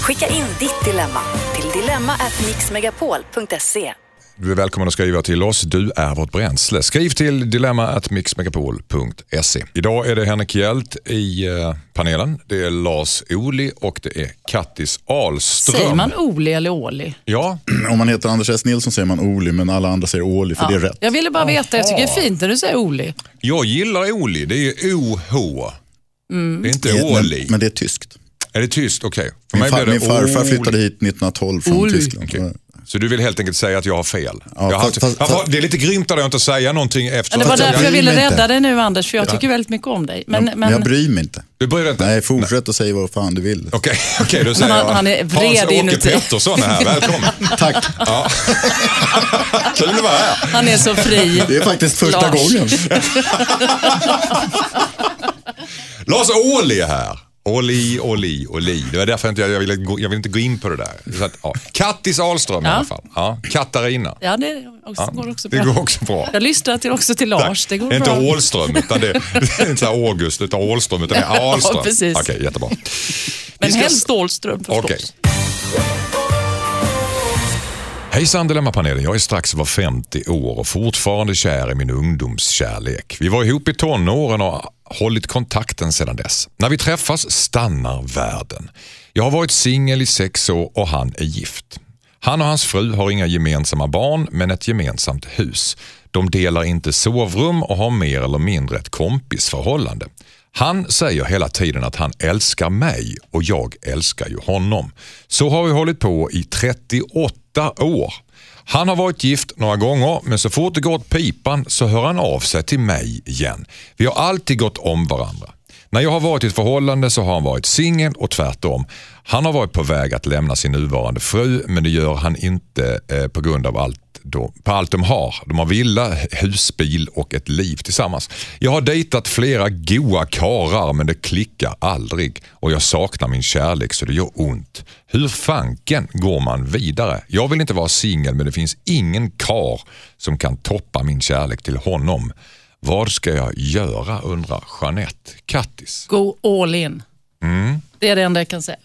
Skicka in ditt dilemma till dilemma@mixmegapol.se. Du är välkommen att skriva till oss. Du är vårt bränsle. Skriv till dilemma.mixmegapol.se. Idag är det Henrik Hjält i eh, panelen. Det är Lars Ohly och det är Kattis Ahlström. Säger man Oli eller Åli? Ja, Om man heter Anders S. Nilsson säger man Oli, men alla andra säger Oli för det är rätt. Jag ville bara veta, jag tycker det är fint när du säger Oli. jag gillar Ohly. Det är OH. Mm. Det är Det inte är- Ohly. Men, men det är tyskt. Är det tyst? Okej. För Min, fa- min farfar Ohly. flyttade hit 1912 från Oli. Tyskland. Okej. Så du vill helt enkelt säga att jag har fel? Ja, jag har fast- fast- Varför- fast- det är lite grymt att jag inte säga någonting efter... Men det jag var därför jag bryr ville mig inte. rädda dig nu Anders, för jag tycker väldigt mycket om dig. Men, Men men, jag bryr mig inte. Du bryr dig inte? Nej, fortsätt och säg vad fan du vill. Okej, okej, då säger han- jag. han är vred Hans-Åke inuti. Pettersson är här, välkommen. Tack. Kul att vara här. han är så fri. Det är faktiskt första Lars. gången. Lars Ohly är här. Oli, Oli, Oli. Det var därför jag inte, jag, ville, gå, jag ville inte gå in på det där. Så att, ja. Kattis Ahlström i alla fall. Ja. Katarina. Ja, det också, går också Det bra. går också bra. Jag lyssnar till, också till Lars, det går är inte bra. Åhlström, utan det, det är inte så här August, utan Åhlström, utan det är Ja, Ahlström. precis. Okej, jättebra. men Vi ska- helst Ahlström förstås. Okej. Hejsan Dilemmapanelen, jag är strax över 50 år och fortfarande kär i min ungdomskärlek. Vi var ihop i tonåren och har hållit kontakten sedan dess. När vi träffas stannar världen. Jag har varit singel i sex år och han är gift. Han och hans fru har inga gemensamma barn men ett gemensamt hus. De delar inte sovrum och har mer eller mindre ett kompisförhållande. Han säger hela tiden att han älskar mig och jag älskar ju honom. Så har vi hållit på i 38 år. Han har varit gift några gånger men så fort det går åt pipan så hör han av sig till mig igen. Vi har alltid gått om varandra. När jag har varit i ett förhållande så har han varit singel och tvärtom. Han har varit på väg att lämna sin nuvarande fru men det gör han inte eh, på grund av allt de, på allt de har. De har villa, hus, bil och ett liv tillsammans. Jag har dejtat flera goa karar men det klickar aldrig och jag saknar min kärlek så det gör ont. Hur fanken går man vidare? Jag vill inte vara singel men det finns ingen kar som kan toppa min kärlek till honom. Vad ska jag göra undrar Jeanette Kattis. Gå all in. Mm. Det är det enda jag kan säga.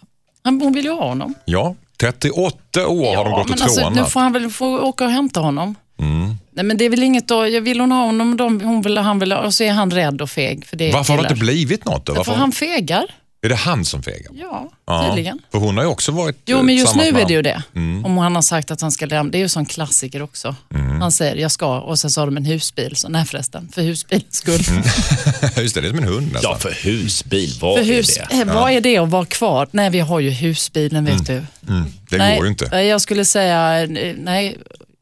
Han, hon vill ju ha honom. Ja, 38 år har de gått och men alltså, nu trånat. får han väl få åka och hämta honom. Mm. Nej, men det är väl inget då. Jag vill hon ha honom de, hon vill, han vill, ha- och så är han rädd och feg. För det är Varför har det killar. inte blivit något då? För Varför? han fegar. Är Är det han som fegar? Ja, Ja, tydligen. För hon har ju också varit Jo, eh, men just nu tillsammans med är det ju han. Mm. det. Om han har sagt att han ska lämna, det är ju som klassiker också. Han säger jag ska och sen sa de en husbil, så nej förresten, för husbilens skull. Mm. Just det, det är som en hund nästan. Ja, för husbil, vad För är hus, det? eh, Vad är det att vara kvar? Nej, vi har ju husbilen vet du. Mm, det nej, går ju inte. eh, Jag skulle säga, eh, nej,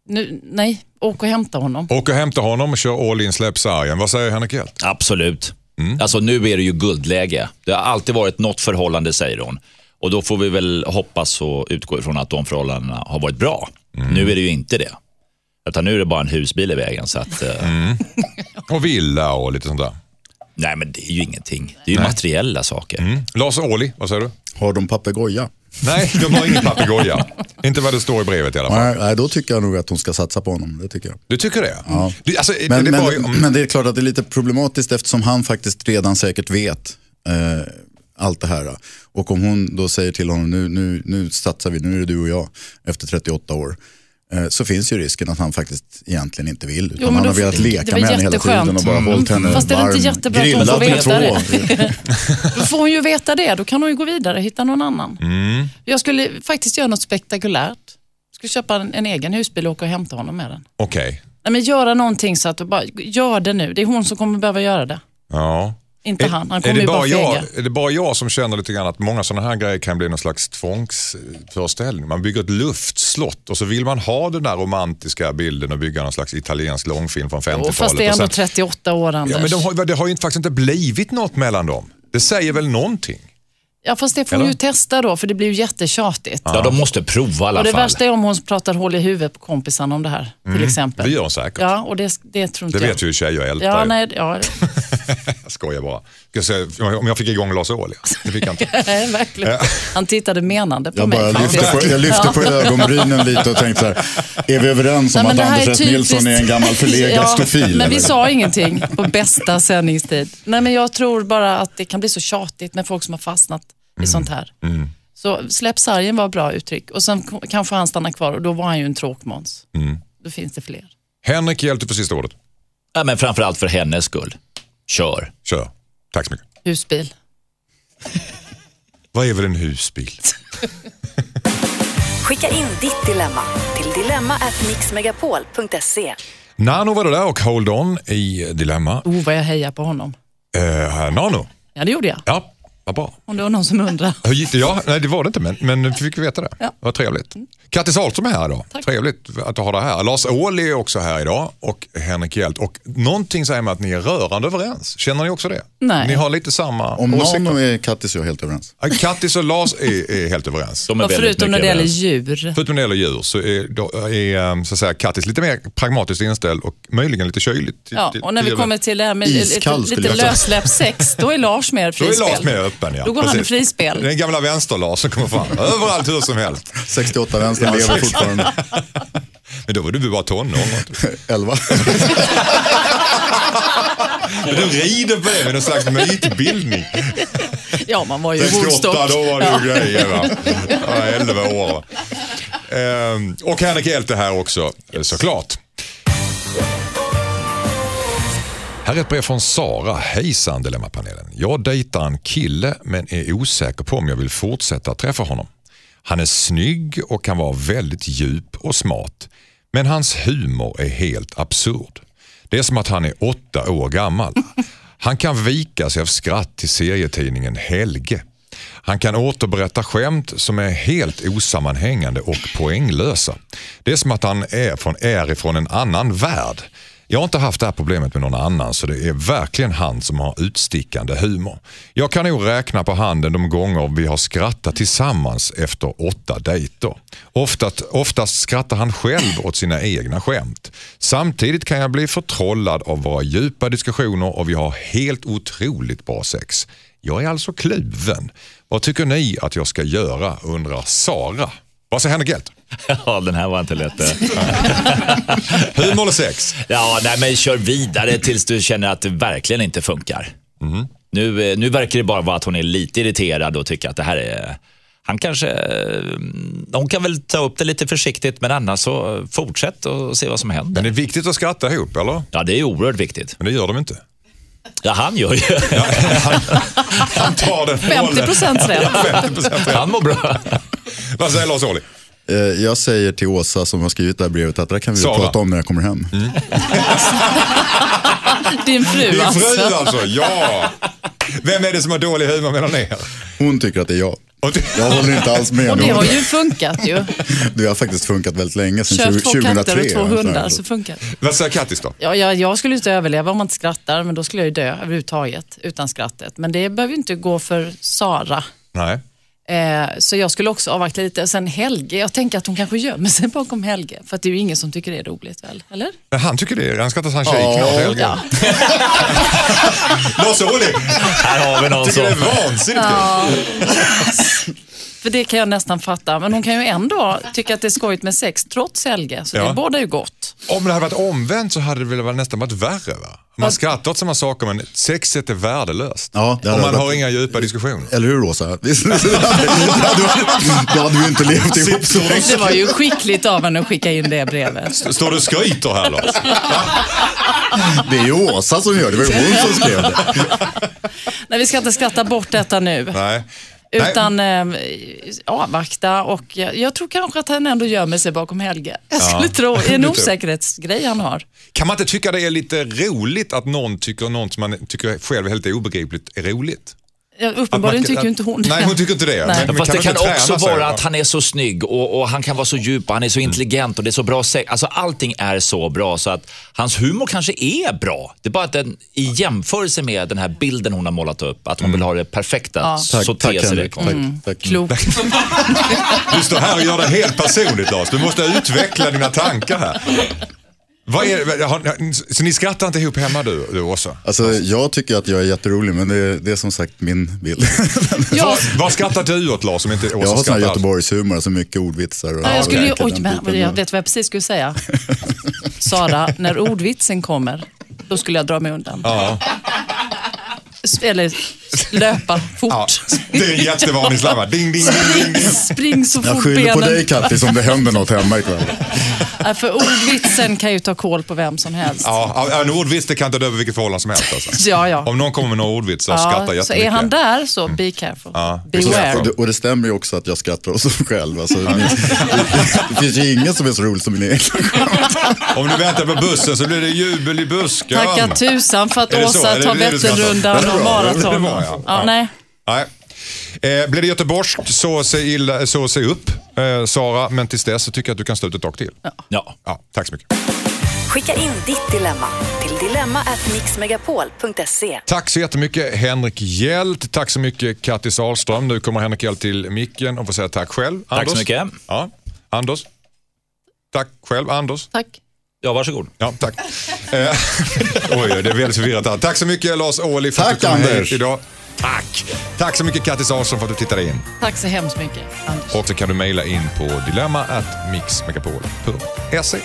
nu, nej, åk och hämta honom. Åk och hämta honom och kör all in släpp sargen. Vad säger Henrik Hjelt? Absolut. Alltså nu är det ju guldläge. Det har alltid varit något förhållande, säger hon. Och då får vi väl hoppas och utgå ifrån att de förhållandena har varit bra. Nu är det ju inte det. Utan nu är det bara en husbil i vägen. Så att, eh, Och villa och lite sånt där. Nej, men det är ju ingenting. Det är ju materiella saker. Mm. Lars Ohly, vad säger du? Har de papegoja? Nej, de har ingen papegoja. inte vad det står i brevet i alla fall. Nej, nej, då tycker jag nog att hon ska satsa på honom. Det tycker jag. Du tycker det? Ja. Du, alltså, Men, det men, var ju, men det är klart att det är lite problematiskt eftersom han faktiskt redan säkert vet eh, allt det här. Och om hon då säger till honom, nu, nu, nu satsar vi, nu är det du och jag efter 38 år. eh, Så finns ju risken att han faktiskt egentligen inte vill. Utan men han då har velat får- det leka var med henne hela tiden jätteskönt. Mm. och bara hållit henne Fast är det varm. inte jättebra att hon Grillat får med veta två. Då får hon ju veta det, då kan hon ju gå vidare och hitta någon annan. Mm. Jag skulle faktiskt göra något spektakulärt. Jag skulle köpa en, en egen husbil och åka och hämta honom med den. Okej. Nej, men göra någonting så att du bara, gör det nu. Det är hon som kommer behöva göra det. Ja. Inte Är- han, han är, kommer det ju bara bara jag, fega. är det bara jag som känner lite grann att många sådana här grejer kan bli någon slags tvångsföreställning? Man bygger ett luftslott och så vill man ha den där romantiska bilden och bygga någon slags italiensk långfilm från 50-talet. Och fast det är och ändå sen- 38 år Anders. Ja, men de har, det har ju inte- faktiskt inte blivit något mellan dem. Det säger väl någonting? Ja, fast det får hon Eller? ju testa då, för det blir ju jättetjatigt. Ja, de måste prova i alla Och det fall. värsta är om hon pratar hål i huvudet på kompisen om det här, till exempel. Mm. Det gör hon säkert. Ja, och det, det tror inte Det vet jag. ju tjejer ältar Ja, ju. nej, ja, Jag skojar bara. Ska jag säga, om jag fick igång Lars Ohly? Det fick jag inte. nej, verkligen. Han tittade menande på Jag bara mig faktiskt. lyfte på, jag lyfte på ögonbrynen lite och tänkte så här, är vi överens om Nej, men att det här Anders S. Nilsson är en gammal förlegad Ja, stofil? Men vi eller? sa ingenting på bästa sändningstid. Nej, men jag tror bara att det kan bli så tjatigt med folk som har fastnat Mm, i sånt här. Så släpp sargen var ett bra uttryck och sen k- kanske han stannar kvar och då var han ju en tråkmåns. Mm. Då finns det fler. Henrik Hjälte för sista ordet. Ja, men framförallt för hennes skull. Kör. Kör. Tack så mycket. Husbil. Vad är väl en husbil? Skicka in ditt dilemma till dilemma@mixmegapol.se. Nano var det där och Hold On i Dilemma. Oh, vad jag hejar på honom. Eh, Nano, Ja, det gjorde jag. ja, vad bra. Om det var någon som undrar. Hur gick det? Ja, nej, det var det inte, men, men vi fick veta det. Ja. Mm. Vad trevligt. Kattis Ahlström är här idag. Trevligt att ha dig här. Lars Ohly är också här idag och Henrik Hjelt. Och någonting säger mig att ni är rörande överens. Känner ni också det? Nej. Ni har lite samma Om åsikter. Nano är Kattis och jag helt överens. Ja, Kattis och Lars är, är helt överens. De är Ja, väldigt förutom när mycket det gäller överens. djur. Förutom när det gäller djur så är, då är eh, så att säga, Kattis lite mer pragmatiskt inställd och möjligen lite kyligt. Ja, och när vi kommer till det här med lite, Iskall skulle lite jag säga. lössläppt sex, då är Lars mer Då frispel. är Lars mer öppen. Ja. Då går han i frispel. Den gamla vänster-Lars som kommer fram överallt hur som helst. 68 vänstern lever fortfarande. Men då var du bara tonåring. 11. Men du rider på det med någon slags mytbildning. Ja, man var ju i 68, Woodstock. då var det ju grejer. Va? Jag var 11 år. Va? Ehm, och Henrik Hjelte här också, eh, såklart. Här är ett brev från Sara. Hejsan Dilemmapanelen. Jag dejtar en kille men är osäker på om jag vill fortsätta träffa honom. Han är snygg och kan vara väldigt djup och smart. Men hans humor är helt absurd. Det är som att han är åtta år gammal. Han kan vika sig av skratt till serietidningen Helge. Han kan återberätta skämt som är helt osammanhängande och poänglösa. Det är som att han är, från, är ifrån en annan värld. Jag har inte haft det här problemet med någon annan så det är verkligen han som har utstickande humor. Jag kan nog räkna på handen de gånger vi har skrattat tillsammans efter åtta dejter. Oftast, oftast skrattar han själv åt sina egna skämt. Samtidigt kan jag bli förtrollad av våra djupa diskussioner och vi har helt otroligt bra sex. Jag är alltså kluven. Vad tycker ni att jag ska göra undrar Sara. Vad säger Henrik Hjelt? Ja, den här var inte lätt. eh. Humor och sex? Ja, nej, men kör vidare tills du känner att det verkligen inte funkar. Nu, eh, nu verkar det bara vara att hon är lite irriterad och tycker att det här är... Han kanske... eh, Hon kan väl ta upp det lite försiktigt, men annars så fortsätt och se vad som händer. Men det är viktigt att skratta ihop eller? Ja, det är oerhört viktigt. Men det gör de inte. Ja, han gör ju. Han tar den 50 procent rätt. 50% rätt. Han mår bra. Vad säger Lars Ohly? Eh, Jag säger till Åsa som har skrivit det här brevet att det där kan vi väl Sara. prata om när jag kommer hem. Din fru Din fru alltså. alltså, ja. Vem är det som har dålig humor mellan er? Hon tycker att det är jag. Och du- Jag håller inte alls med. Och det henne. har ju funkat ju. Det har faktiskt funkat väldigt länge, sedan Köp 20- två 2003. katter och alltså. två eller sådär. hundar så funkar det. Vad säger Kattis då? Ja, jag, jag skulle inte överleva om man inte skrattar, men då skulle jag ju dö överhuvudtaget utan skrattet. Men det behöver ju inte gå för Sara. Nej. Eh, så jag skulle också avvakta lite. Sen Helge, jag tänker att hon kanske gömmer sig bakom Helge. För att det är ju ingen som tycker det är roligt väl, eller? Men han tycker det. är- Han skrattar så han tjejknar. Ja. Lars Ohly, Här har vi någon tycker som... det är vansinnigt kul. För det kan jag nästan fatta. Men hon kan ju ändå tycka att det är skojigt med sex, trots Helge. Så Ja. det båda ju gott. Om det hade varit omvänt så hade det väl varit- nästan varit värre va? Man skrattar åt samma saker men sexet är värdelöst. Ja, det Om hade man varit- har inga djupa diskussioner. Eller hur Åsa? Visst, då hade vi- då hade vi inte levt ihop så länge. Det var ju skickligt av henne att skicka in det brevet. Står du och skryter här Lars? Det är ju Åsa som gör det, det var ju hon som skrev det. Nej, vi ska inte skratta bort detta nu. Nej. Utan eh, avvakta och jag, jag tror kanske att han ändå gömmer sig bakom Helge. Jag skulle tro, det är en tror. osäkerhetsgrej han har. Kan man inte tycka det är lite roligt att någon tycker något som man tycker själv är helt obegripligt är roligt? Ja, Att uppenbarligen man- tycker ju inte hon Nej, hon tycker inte det. Nej. Men- men Fast det man kan inte träna också sig? vara att han är så snygg och, och han kan vara så djup och han är så intelligent och det är så bra sex. Alltså allting är så bra så att hans humor kanske är bra. Det är bara att den, i jämförelse med den här bilden hon har målat upp, att hon vill ha det perfekta, så ter sig det Henrik. konstigt. Tack, tack. Klok. Du står här och gör det helt personligt Lars. Du måste utveckla dina tankar här. Vad är, har, så ni skrattar inte ihop hemma du, du Åsa? Alltså, jag tycker att jag är jätterolig, men det, det är som sagt min bild. Jag, Vad skrattar du åt Lars som inte Åsa Jag har sån här skrattar allt? Göteborgshumor, alltså mycket ordvitsar. Och jag skulle ju, verkligen oj, den men, typen jag av- vet vad jag precis skulle säga. Sara, när ordvitsen kommer, då skulle jag dra mig undan. S- Eller s- löpa Ja, fort. det är en jättevarningslamma. Ding, ding, ding, ding, ding. Spring så Jag fort skyller på benen... dig Kattis om det händer något hemma ikväll. Nej, För ordvitsen kan ju ta koll på vem som helst. Ja, en ordvits det kan inte dö över vilket förhållande som helst. Alltså. Ja, ja. Om någon kommer med några ordvitsar Ja, skrattar jag så är jättemycket. han där så be careful. Så- Beware. Och det, och det stämmer ju också att jag skrattar åt mig själv. Alltså, det, finns, det finns ju ingen som är så rolig som min egen. Om du väntar på bussen så blir det jubel i busken. Tacka tusan för att Är det så? Är Åsa det tar det du ska ta? Det är Vätternrundan bra, det och är maraton. bra, ja. Ja. Ja, nej. Nej. Eh, blir det göteborgskt så se, illa, så se upp eh, Sara, men tills dess så tycker jag att du kan stå ut ett tag till. Ja. Ja, tack så mycket. Skicka in ditt dilemma till dilemma@mixmegapol.se. Tack så jättemycket Henrik Hjält. Tack så mycket Kattis Ahlström. Nu kommer Henrik Hjält till micken och får säga tack själv. så mycket. Ja. Anders. Tack själv Anders. Tack. ja, varsågod. Ja, tack. Eh, Oj, det är väldigt förvirrat här. Tack så mycket Lars Ohly för att Tack, du kom Anders. hit idag. Tack! Tack så mycket Kattis Ahlström för att du tittade in. Tack så hemskt mycket, Anders. Och så kan du mejla in på dilemma.mixmegapol.se.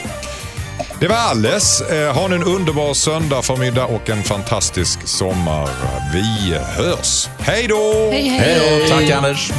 Det var alles. Eh, Ha nu en underbar söndag förmiddag och en fantastisk sommar. Vi hörs. Hej då! Hej, hej. Tack Anders.